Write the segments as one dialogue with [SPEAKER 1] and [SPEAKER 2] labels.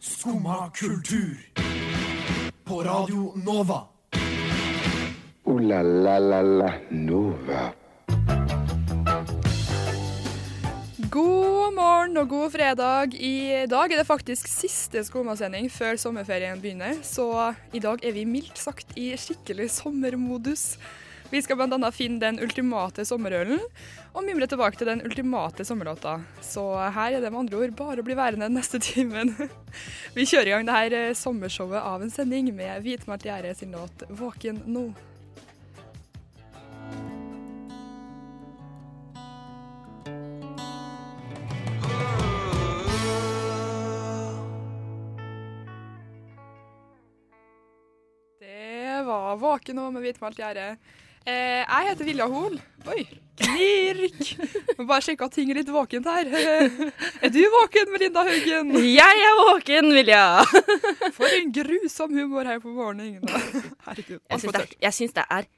[SPEAKER 1] Skumma kultur. På Radio Nova.
[SPEAKER 2] Ooh la la la la Nova.
[SPEAKER 3] God morgen og god fredag. I dag er det faktisk siste skomasending før sommerferien begynner, så i dag er vi mildt sagt i skikkelig sommermodus. Vi skal bl.a. finne den ultimate sommerølen og mimre tilbake til den ultimate sommerlåta. Så her er det med andre ord bare å bli værende den neste timen. Vi kjører i gang det her eh, sommershowet av en sending med Hvitmalt Gjerde sin låt 'Våken nå'. Det var Våken nå med hvitmalt gjerde. Eh, jeg heter Vilja Hol. Oi, knirk! Må bare sjekke at ting er litt våkent her. Er du våken, Melinda Haugen?
[SPEAKER 4] Jeg er våken, Vilja!
[SPEAKER 3] For en grusom humor her på morgenen. Herregud.
[SPEAKER 4] Jeg
[SPEAKER 3] alt
[SPEAKER 4] syns
[SPEAKER 3] for
[SPEAKER 4] det,
[SPEAKER 3] tørt.
[SPEAKER 4] er- jeg syns det er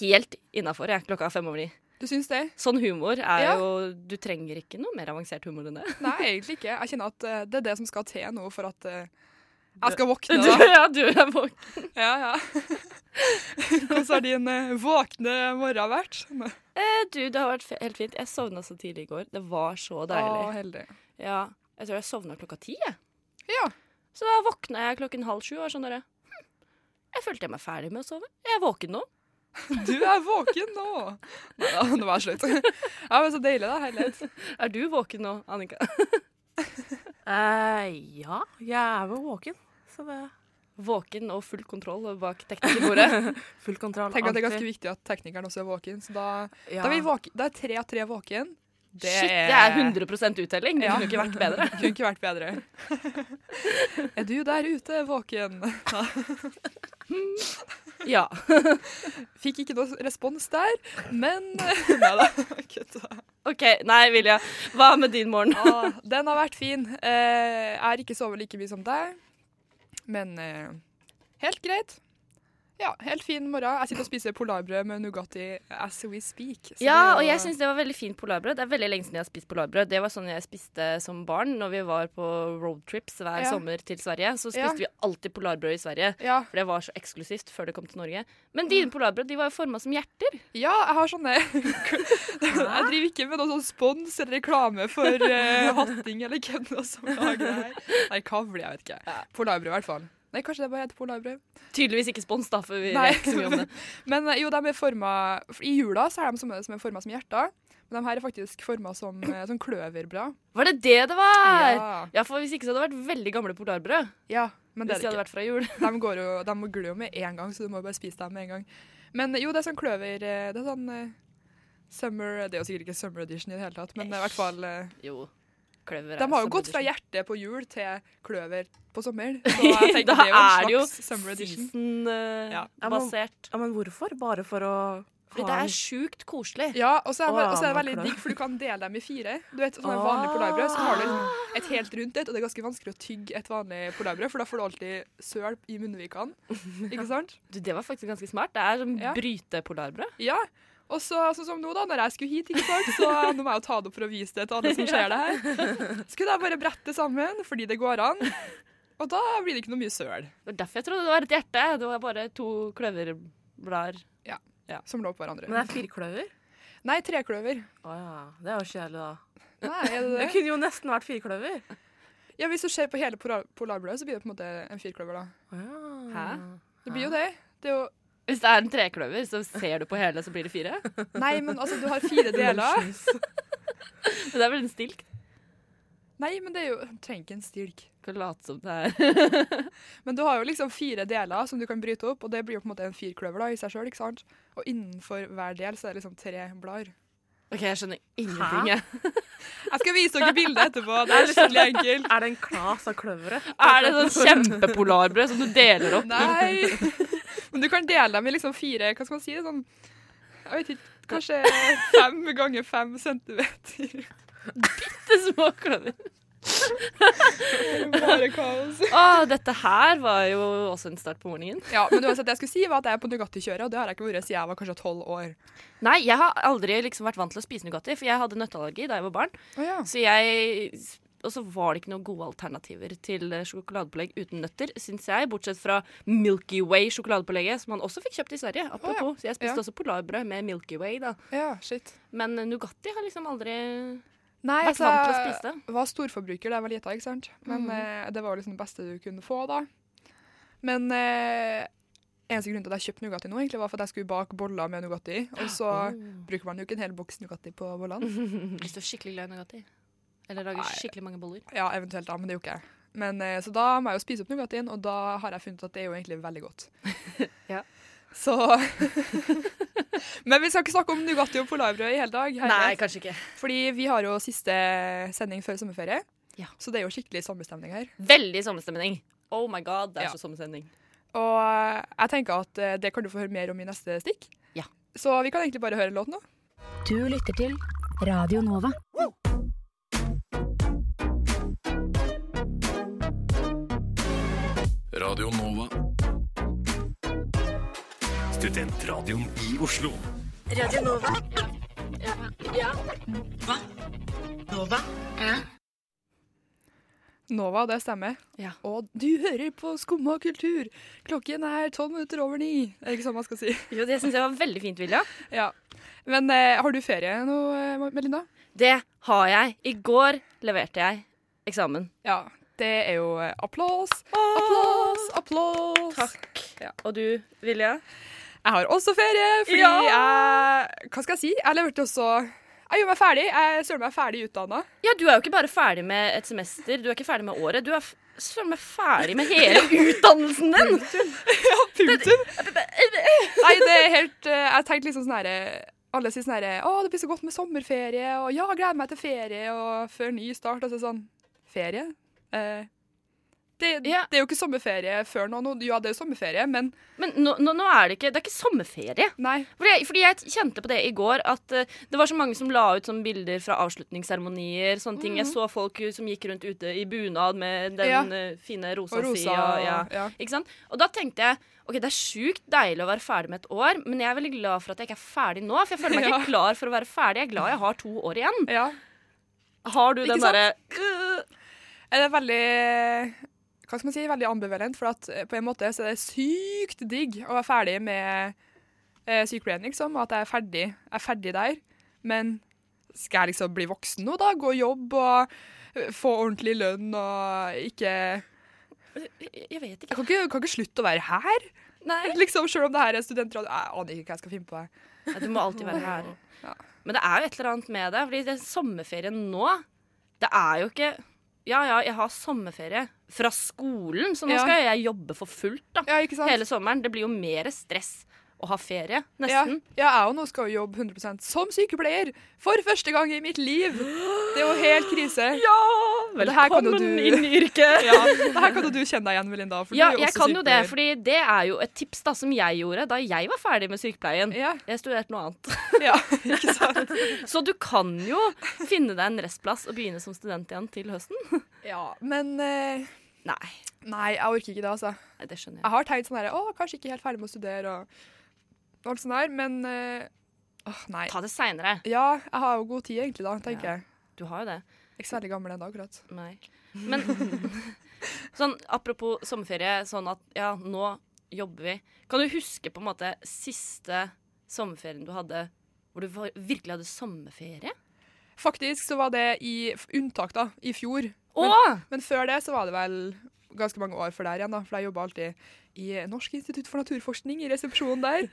[SPEAKER 4] helt innafor klokka er fem over ni.
[SPEAKER 3] Du syns det?
[SPEAKER 4] Sånn humor er
[SPEAKER 3] Ja.
[SPEAKER 4] jo Du trenger ikke noe mer avansert humor enn det.
[SPEAKER 3] Nei, egentlig ikke. Jeg kjenner at eh, det er det som skal til nå for at eh, jeg skal våkne.
[SPEAKER 4] Du,
[SPEAKER 3] da.
[SPEAKER 4] ja, du er våken.
[SPEAKER 3] Ja, ja. Hvordan har din eh, våkne morgen vært?
[SPEAKER 4] Eh, Du, det har vært fe- helt fint. Jeg sovna så tidlig i går. Det var så
[SPEAKER 3] Å,
[SPEAKER 4] deilig.
[SPEAKER 3] heldig.
[SPEAKER 4] Ja, jeg tror jeg sovna klokka ti. jeg.
[SPEAKER 3] Ja.
[SPEAKER 4] Så da våkna jeg klokken halv sju og var sånn derre hm, Jeg følte jeg meg ferdig med å sove. Jeg er våken nå.
[SPEAKER 3] Du er våken nå! Neida, nå var jeg slutt. Ja, men Så deilig, da. Herlighet.
[SPEAKER 4] Er du våken nå, Annika?
[SPEAKER 5] Eh, ja, jeg er vel våken. Så det er
[SPEAKER 4] Våken og full kontroll bak teknikerbordet.
[SPEAKER 5] full kontroll.
[SPEAKER 3] Tenk at Det er ganske
[SPEAKER 5] alltid.
[SPEAKER 3] viktig at teknikeren også er våken. så Da, da
[SPEAKER 5] ja.
[SPEAKER 3] er vi våken. Det er tre av tre våken. Det
[SPEAKER 4] Shit, det er 100 uttelling. Det
[SPEAKER 3] Ja.
[SPEAKER 4] kunne ikke vært bedre.
[SPEAKER 3] Kunne ikke vært bedre. er du der ute våken?
[SPEAKER 4] Ja.
[SPEAKER 3] Fikk ikke noe respons der, men Nei da. Kødda.
[SPEAKER 4] OK, nei, Vilja. Hva med din morgen?
[SPEAKER 3] Ah, Den har vært fin. Eh, Jeg har ikke sovet like mye som deg, men eh, helt greit. Ja, helt fin morgen. Jeg sitter og spiser polarbrød med Nugatti as we speak. så det
[SPEAKER 4] Ja,
[SPEAKER 3] var-
[SPEAKER 4] og jeg syns det var veldig fint polarbrød. Det er veldig lenge siden jeg har spist polarbrød. Det var sånn jeg spiste som barn når vi var på roadtrips hver
[SPEAKER 3] Ja.
[SPEAKER 4] sommer til Sverige. Så
[SPEAKER 3] Ja.
[SPEAKER 4] spiste vi alltid polarbrød i Sverige.
[SPEAKER 3] ja.
[SPEAKER 4] For det var så eksklusivt før det kom til Norge. Men
[SPEAKER 3] Mm.
[SPEAKER 4] dine polarbrød de var jo forma som hjerter.
[SPEAKER 3] Ja, jeg har sånne Jeg driver ikke med noe sånn spons eller reklame for eh, hatting eller hvem det er som lager det her. Nei, kavle, jeg vet ikke. Polarbrød, i hvert fall. Nei, kanskje det bare heter polarbrød.
[SPEAKER 4] Tydeligvis ikke spons, da, for vi
[SPEAKER 3] Nei.
[SPEAKER 4] vet ikke så mye om det.
[SPEAKER 3] Men eh, jo, de er forma I jula så er de sånne som er forma som hjerter. Men de her er faktisk forma som eh, sånn kløverbrød.
[SPEAKER 4] Var det det det var? Ja.
[SPEAKER 3] Ja.
[SPEAKER 4] for Hvis ikke så hadde det vært veldig gamle polarbrød.
[SPEAKER 3] ja, men det
[SPEAKER 4] Hvis
[SPEAKER 3] er det
[SPEAKER 4] de hadde
[SPEAKER 3] ikke.
[SPEAKER 4] vært fra jul.
[SPEAKER 3] De, går jo, de glør jo med en gang, så du må bare spise dem med en gang. Men eh, jo, det er sånn kløver eh, Det er sånn eh, summer Det er jo sikkert ikke summer edition i det hele tatt, men eh, i hvert fall eh,
[SPEAKER 4] Jo, kløver
[SPEAKER 3] De har jo
[SPEAKER 4] summer
[SPEAKER 3] gått fra
[SPEAKER 4] edition.
[SPEAKER 3] hjerte på jul til kløver på sommer. Så jeg tenker det
[SPEAKER 4] Da
[SPEAKER 3] er jo
[SPEAKER 4] er det
[SPEAKER 3] en
[SPEAKER 4] jo
[SPEAKER 3] slags summer edition. Ja.
[SPEAKER 4] season-basert.
[SPEAKER 5] Ja, men hvorfor? Bare for å
[SPEAKER 4] eh, Fordi det er sjukt koselig.
[SPEAKER 3] Ja, og så er, det bare-
[SPEAKER 5] Å,
[SPEAKER 3] og så er det veldig
[SPEAKER 5] nå klør.
[SPEAKER 3] digg, for du kan dele dem i fire. Du vet, sånn en vanlig polarbrød, så har du liksom et helt rundt et, og det er ganske vanskelig å tygge et vanlig polarbrød, for da får du alltid sølp i munnvikene. Ikke sant?
[SPEAKER 4] Du, det var faktisk ganske smart. Det er som
[SPEAKER 3] Ja.
[SPEAKER 4] brytepolarbrød.
[SPEAKER 3] Ja. Og så, sånn som nå, da, når jeg skulle hit, ikke sant, så nå må jeg jo ta det opp for å vise det til alle som ser det her. Skulle jeg bare brette det sammen, fordi det går an, og da blir det ikke noe mye søl
[SPEAKER 4] Det var derfor jeg trodde det var et hjerte. Det var bare to kløverblader.
[SPEAKER 3] som lå på hverandre.
[SPEAKER 5] Men det er firkløver?
[SPEAKER 3] Nei, trekløver.
[SPEAKER 5] Å ja. Det er jo kjedelig, da.
[SPEAKER 3] Nei, er det
[SPEAKER 5] Det
[SPEAKER 3] det?
[SPEAKER 5] kunne jo nesten vært firkløver.
[SPEAKER 3] Ja, Hvis du ser på hele polar polarbrødet, så blir det på en måte en firkløver. da.
[SPEAKER 5] Å ja.
[SPEAKER 4] Hæ?
[SPEAKER 3] Det blir jo det. det er jo,
[SPEAKER 4] Hvis det er en trekløver, så ser du på hele, så blir det fire.
[SPEAKER 3] nei, men altså, du har fire deler.
[SPEAKER 4] Men det er vel en stilk.
[SPEAKER 3] Nei, men det er jo Trenger ikke en stilk.
[SPEAKER 4] Kan late som det er
[SPEAKER 3] Men du har jo liksom fire deler som du kan bryte opp, og det blir jo på en måte en firkløver da, i seg sjøl. Og innenfor hver del så er det liksom tre blader.
[SPEAKER 4] OK, jeg skjønner ingenting, jeg.
[SPEAKER 3] Jeg skal vise dere bildet etterpå. Det er skikkelig enkelt.
[SPEAKER 5] Er det en klas av kløvere?
[SPEAKER 4] Er det sånn kjempepolarbrød som du deler opp?
[SPEAKER 3] Nei! Men du kan dele dem i liksom fire Hva skal man si? Sånn Jeg vet ikke. Kanskje fem ganger fem centimeter.
[SPEAKER 4] Bitte små kløver.
[SPEAKER 3] Bare kaos.
[SPEAKER 4] Å, dette her var jo også en start på morgenen.
[SPEAKER 3] Ja, men uansett, det jeg skulle si var at jeg er på Nugatti-kjøret, og det har jeg ikke vært siden jeg var kanskje tolv år.
[SPEAKER 4] Nei, jeg har aldri liksom vært vant til å spise Nugatti, for jeg hadde nøtteallergi da jeg var barn.
[SPEAKER 3] Oh, ja.
[SPEAKER 4] Så jeg og så var det ikke noen gode alternativer til eh, sjokoladepålegg uten nøtter, syns jeg. Bortsett fra Milky Way-sjokoladepålegget, som man også fikk kjøpt i Sverige. Apropos. Så jeg spiste
[SPEAKER 3] Ja.
[SPEAKER 4] også polarbrød med Milky Way, da.
[SPEAKER 3] Ja, shit.
[SPEAKER 4] Men eh, Nugatti har liksom aldri
[SPEAKER 3] Nei,
[SPEAKER 4] Vært
[SPEAKER 3] altså,
[SPEAKER 4] vant til å spise det.
[SPEAKER 3] var storforbruker da jeg var lita, ikke sant.
[SPEAKER 4] Mm.
[SPEAKER 3] Men eh, det var jo liksom det beste du kunne få da. Men eh, eneste grunn til at jeg kjøpte Nugatti nå, egentlig var for at jeg skulle bake boller med Nugatti. Og så
[SPEAKER 4] Oh.
[SPEAKER 3] bruker man jo ikke en hel boks Nugatti på
[SPEAKER 4] Mhm.
[SPEAKER 3] bollene.
[SPEAKER 4] Hvis du er skikkelig glad i Nugatti. Eller lager skikkelig mange boller.
[SPEAKER 3] Ja, eventuelt, da, men det gjorde ikke jeg. Men, eh, så da må jeg jo spise opp Nugattien, og da har jeg funnet at det er jo egentlig veldig godt.
[SPEAKER 4] Ja.
[SPEAKER 3] Så Men vi skal ikke snakke om Nugatti og polarbrød i hele dag. herlighet.
[SPEAKER 4] kanskje ikke.
[SPEAKER 3] Fordi vi har jo siste sending før sommerferie,
[SPEAKER 4] Ja.
[SPEAKER 3] så det er jo skikkelig sommerstemning her.
[SPEAKER 4] Veldig sommerstemning. Oh my god, det er
[SPEAKER 3] Ja.
[SPEAKER 4] så sommerstemning.
[SPEAKER 3] Og jeg tenker at eh, det kan du få høre mer om i neste stikk.
[SPEAKER 4] Ja.
[SPEAKER 3] Så vi kan egentlig bare høre låten nå.
[SPEAKER 6] Du lytter til Radio Nova.
[SPEAKER 7] Radio Nova. Studentradioen i Oslo.
[SPEAKER 3] Nova, det stemmer.
[SPEAKER 4] Ja.
[SPEAKER 3] Og du hører på Skumma kultur. Klokken er tolv minutter over ni. Er det ikke sånn man skal si?
[SPEAKER 4] Jo, det syns jeg var veldig fint, Vilja.
[SPEAKER 3] Ja. Men eh, har du ferie nå, eh, Melinda?
[SPEAKER 4] Det har jeg. I går leverte jeg eksamen.
[SPEAKER 3] Ja. Det er jo eh, applaus, applaus, applaus.
[SPEAKER 4] Takk. Og du, Vilja?
[SPEAKER 3] Jeg har også ferie, fordi
[SPEAKER 4] Ja!
[SPEAKER 3] jeg Hva skal jeg si? Jeg leverte også Jeg gjorde meg ferdig. Jeg søren meg ferdig utdanna.
[SPEAKER 4] Ja, du er jo ikke bare ferdig med et semester, du er ikke ferdig med året. Du er f- søren meg ferdig med hele utdannelsen din!
[SPEAKER 3] Punktum. Nei, det er helt eh, Jeg tenkte liksom sånn herre Alle sier sånn herre Å, det blir så godt med sommerferie, og ja, jeg gleder meg til ferie, og før ny start, altså sånn Ferie? Eh, det,
[SPEAKER 4] Ja.
[SPEAKER 3] det er jo ikke sommerferie før nå. nå- Ja, det er jo sommerferie, men
[SPEAKER 4] Men nå, nå, nå er det ikke Det er ikke sommerferie.
[SPEAKER 3] nei.
[SPEAKER 4] Fordi jeg, fordi jeg kjente på det i går, at eh, det var så mange som la ut sånne bilder fra avslutningsseremonier. Sånne ting. Jeg så folk eh, som gikk rundt ute i bunad med den
[SPEAKER 3] Ja.
[SPEAKER 4] eh, fine rosa,
[SPEAKER 3] Og rosa
[SPEAKER 4] sida. Ja.
[SPEAKER 3] og- ja.
[SPEAKER 4] Ikke sant? Og da tenkte jeg ok, det er sjukt deilig å være ferdig med et år, men jeg er veldig glad for at jeg ikke er ferdig nå. For jeg føler meg
[SPEAKER 3] Ja.
[SPEAKER 4] ikke klar for å være ferdig. Jeg er glad jeg har to år igjen.
[SPEAKER 3] Ja.
[SPEAKER 4] Har du
[SPEAKER 3] Ikke
[SPEAKER 4] den
[SPEAKER 3] sant?
[SPEAKER 4] derre
[SPEAKER 3] er det veldig hva skal man si, veldig ambivalent, for at eh, på en måte så er det sykt digg å være ferdig med eh, sykepleien, liksom, og at jeg er ferdig, jeg er ferdig der, men skal jeg liksom bli voksen nå da, gå jobb og eh, få ordentlig lønn og ikke, jeg
[SPEAKER 4] Øh, Jeg jeg vet ikke.
[SPEAKER 3] kan ikke, kan ikke slutte å være her,
[SPEAKER 4] Nei.
[SPEAKER 3] liksom, selv om det her er studentradio, jeg aner ikke hva jeg skal finne på her.
[SPEAKER 4] Ja, du må alltid være her.
[SPEAKER 3] Ja.
[SPEAKER 4] Men det er jo et eller annet med det. Fordi det sommerferien nå, det er jo ikke Ja ja, jeg har sommerferie fra skolen, så nå
[SPEAKER 3] Ja.
[SPEAKER 4] skal jeg jobbe for fullt da.
[SPEAKER 3] Ja, ikke sant?
[SPEAKER 4] hele sommeren. Det blir jo mer stress å ha ferie,
[SPEAKER 3] Ja,
[SPEAKER 4] nesten.
[SPEAKER 3] ja, jeg og nå skal jo jobbe 100% som sykepleier, for første gang i mitt liv. Det er jo helt krise.
[SPEAKER 4] Ja!
[SPEAKER 3] det her kan jo
[SPEAKER 4] Velkommen
[SPEAKER 3] du-
[SPEAKER 4] inn i yrket!
[SPEAKER 3] Ja, det her kan jo du kjenne deg igjen, Melinda. for du
[SPEAKER 4] Ja,
[SPEAKER 3] er
[SPEAKER 4] jeg
[SPEAKER 3] også
[SPEAKER 4] kan jo det,
[SPEAKER 3] sykepleier.
[SPEAKER 4] fordi det er jo et tips da som jeg gjorde da jeg var ferdig med sykepleien.
[SPEAKER 3] Ja,
[SPEAKER 4] Jeg studerte noe annet.
[SPEAKER 3] ja, ikke sant?
[SPEAKER 4] Så du kan jo finne deg en restplass og begynne som student igjen til høsten.
[SPEAKER 3] Ja, men eh,
[SPEAKER 4] Nei,
[SPEAKER 3] Nei, jeg orker ikke det, altså.
[SPEAKER 4] nei, det skjønner jeg.
[SPEAKER 3] Jeg har tenkt sånn her Å, kanskje ikke helt ferdig med å studere og alt sånt der, men eh, Åh, nei.
[SPEAKER 4] Ta det seinere.
[SPEAKER 3] Ja, jeg har jo god tid, egentlig, da, tenker
[SPEAKER 4] Ja.
[SPEAKER 3] jeg.
[SPEAKER 4] Du har jo det.
[SPEAKER 3] Ikke så veldig gammel ennå, akkurat.
[SPEAKER 4] Nei. Men sånn apropos sommerferie, sånn at ja, nå jobber vi. Kan du huske på en måte siste sommerferien du hadde hvor du var, virkelig hadde sommerferie?
[SPEAKER 3] Faktisk så var det i f- unntak, da, i fjor.
[SPEAKER 4] Å!
[SPEAKER 3] Men før det så var det vel ganske mange år før der igjen, da, for jeg jobba alltid i Norsk institutt for naturforskning, i resepsjonen der.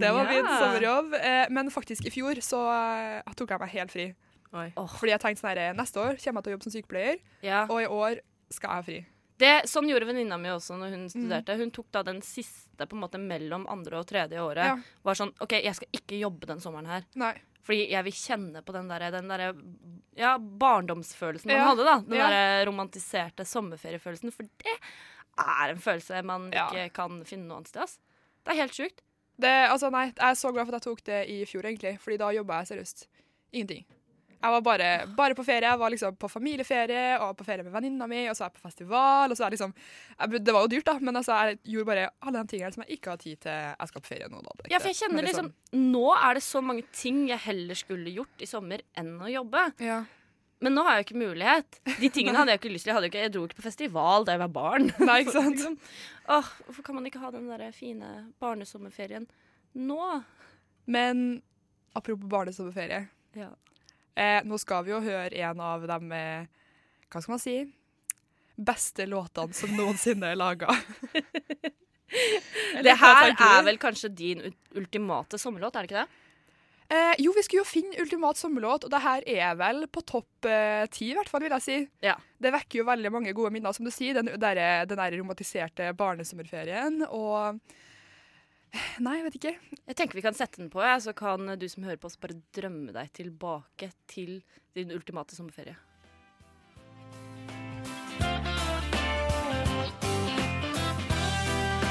[SPEAKER 3] Det var min
[SPEAKER 4] Ja.
[SPEAKER 3] sommerjobb. Eh, Men faktisk, i fjor så eh, tok jeg meg helt fri.
[SPEAKER 5] Oi.
[SPEAKER 3] Fordi jeg tenkte sånn her, neste år kommer jeg til å jobbe som sykepleier,
[SPEAKER 4] Ja.
[SPEAKER 3] og i år skal jeg ha fri.
[SPEAKER 4] Det, sånn gjorde venninna mi også når hun studerte. Hun tok da den siste på en måte mellom andre og tredje året.
[SPEAKER 3] Ja.
[SPEAKER 4] Var sånn OK, jeg skal ikke jobbe den sommeren her.
[SPEAKER 3] Nei.
[SPEAKER 4] Fordi jeg vil kjenne på den derre den der, ja, barndomsfølelsen man
[SPEAKER 3] Ja.
[SPEAKER 4] hadde, da. Den
[SPEAKER 3] Ja.
[SPEAKER 4] derre romantiserte sommerferiefølelsen. For det er en følelse man
[SPEAKER 3] Ja.
[SPEAKER 4] ikke kan finne noe annet sted. ass. Det er helt sjukt.
[SPEAKER 3] Det, altså, nei, jeg er så glad for at jeg tok det i fjor, egentlig, fordi da jobba jeg seriøst ingenting. Jeg var bare, bare på ferie. Jeg var liksom på familieferie og på ferie med venninna mi, og så er jeg på festival. og så er jeg liksom, jeg, br- Det var jo dyrt, da, men altså, jeg gjorde bare alle de tingene som jeg ikke har tid til. Jeg skal på ferie nå, da. det er
[SPEAKER 4] Ja,
[SPEAKER 3] ikke
[SPEAKER 4] for jeg
[SPEAKER 3] det.
[SPEAKER 4] kjenner
[SPEAKER 3] Men liksom-
[SPEAKER 4] liksom Nå er det så mange ting jeg heller skulle gjort i sommer enn å jobbe.
[SPEAKER 3] ja.
[SPEAKER 4] Men nå har jeg jo ikke mulighet. De tingene hadde jeg ikke lyst til. Jeg, hadde jo ikke, jeg dro ikke på festival da jeg var barn.
[SPEAKER 3] Nei, ikke sant?
[SPEAKER 4] Liksom. Åh, hvorfor kan man ikke ha den der fine barnesommerferien nå?
[SPEAKER 3] Men apropos barnesommerferie.
[SPEAKER 4] Ja.
[SPEAKER 3] Eh, nå skal vi jo høre en av de eh, Hva skal man si? Beste låtene som noensinne er laga.
[SPEAKER 4] Det her
[SPEAKER 3] Hva tenker
[SPEAKER 4] er
[SPEAKER 3] du?
[SPEAKER 4] vel kanskje din ut- ultimate sommerlåt, er det ikke det?
[SPEAKER 3] Eh, jo, vi skulle jo finne ultimat sommerlåt, og det her er vel på topp eh, ti, i hvert fall, vil jeg si.
[SPEAKER 4] Ja.
[SPEAKER 3] Det vekker jo veldig mange gode minner, som du sier. Den derre- den der romantiserte barnesommerferien og eh, Nei, jeg vet ikke.
[SPEAKER 4] Jeg tenker vi kan sette den på, ja, så kan du som hører på oss bare drømme deg tilbake til din ultimate sommerferie.
[SPEAKER 8] Sommer og skolefri.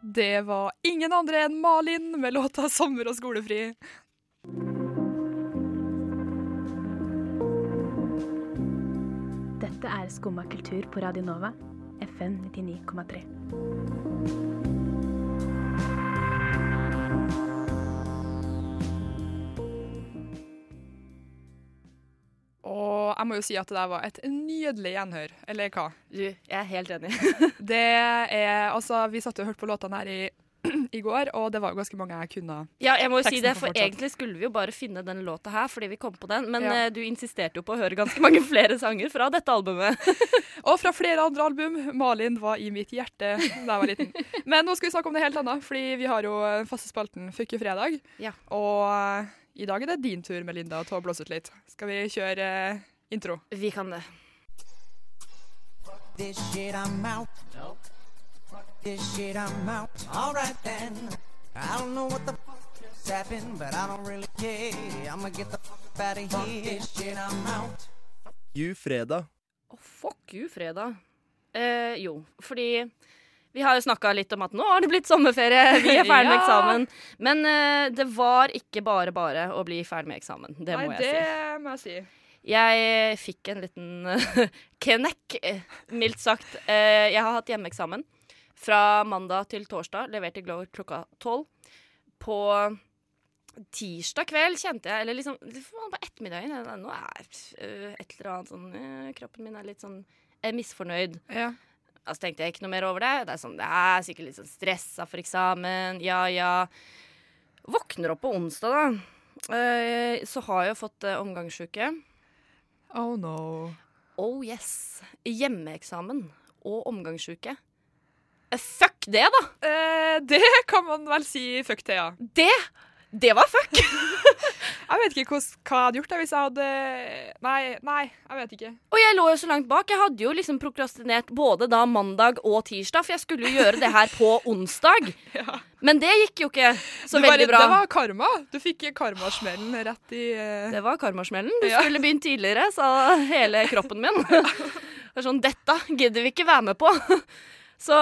[SPEAKER 3] Det var ingen andre enn Malin med låta 'Sommer og skolefri'.
[SPEAKER 6] Dette er Skumma kultur på Radio Nova, FM 99,3.
[SPEAKER 3] Og jeg må jo si at det der var et nydelig gjenhør, eller hva?
[SPEAKER 4] Du, jeg er helt enig.
[SPEAKER 3] Det er, altså, vi satt jo og hørte på låtene her i, i går, og det var jo ganske mange jeg kunne.
[SPEAKER 4] Ja, jeg må jo si
[SPEAKER 3] Teksten
[SPEAKER 4] det,
[SPEAKER 3] får
[SPEAKER 4] for
[SPEAKER 3] fortsatt.
[SPEAKER 4] egentlig skulle vi jo bare finne den låta her fordi vi kom på den, men
[SPEAKER 3] Ja.
[SPEAKER 4] eh, du insisterte jo på å høre ganske mange flere sanger fra dette albumet.
[SPEAKER 3] Og fra flere andre album. Malin var i mitt hjerte da jeg var liten. Men nå skal vi snakke om det helt annet, fordi vi har jo den faste spalten Fuck you fredag.
[SPEAKER 4] Ja.
[SPEAKER 3] Og eh, i dag er det din tur, Melinda, til å blåse ut litt. Skal vi kjøre eh, intro?
[SPEAKER 4] Vi kan det.
[SPEAKER 9] this shit, I'm out. Fuck this shit, I'm out. Alright then. I don't know what the fuck just happened, but I don't really care. I'ma get the fuck out of here. this shit, I'm out.
[SPEAKER 1] You fredag.
[SPEAKER 4] Å, fuck you, fredag. Eh, jo, fordi vi har jo snakka litt om at nå har det blitt sommerferie, vi er ferdig med
[SPEAKER 3] Ja.
[SPEAKER 4] eksamen. Men eh, det var ikke bare bare å bli ferdig med eksamen. Det må
[SPEAKER 3] Nei,
[SPEAKER 4] jeg si.
[SPEAKER 3] det må jeg si.
[SPEAKER 4] Jeg fikk en liten knekk, eh, mildt sagt. Eh, Jeg har hatt hjemmeeksamen fra mandag til torsdag, levert i Glover klokka tolv. På tirsdag kveld kjente jeg, eller liksom faen, på ettermiddagen jeg- Nå er eh, et eller annet sånn eh, Kroppen min er litt sånn eh, misfornøyd.
[SPEAKER 3] Ja.
[SPEAKER 4] Altså tenkte jeg ikke noe mer over det. Det er sånn, det er sikkert litt sånn stressa for eksamen. Ja, ja. Våkner opp på onsdag, da. Eh, Så har jeg jo fått eh, omgangssjuke.
[SPEAKER 3] Oh no.
[SPEAKER 4] Oh yes. Hjemmeeksamen og omgangsuke. Eh, Fuck det, da!
[SPEAKER 3] Eh, det kan man vel si fuck til, ja.
[SPEAKER 4] Det, det var fuck!
[SPEAKER 3] Jeg vet ikke hvordan, hva jeg hadde gjort jeg hvis jeg hadde Nei, nei, jeg vet ikke.
[SPEAKER 4] Og jeg lå jo så langt bak. Jeg hadde jo liksom prokrastinert både da mandag og tirsdag, for jeg skulle jo gjøre det her på onsdag. Men det gikk jo ikke så
[SPEAKER 3] Du bare-
[SPEAKER 4] veldig bra.
[SPEAKER 3] Det var karma. Du fikk karmasmellen rett i eh,
[SPEAKER 4] Det var karmasmellen. Du
[SPEAKER 3] Ja.
[SPEAKER 4] skulle begynt tidligere, sa hele kroppen min. Det er sånn, Dette gidder vi ikke være med på. Så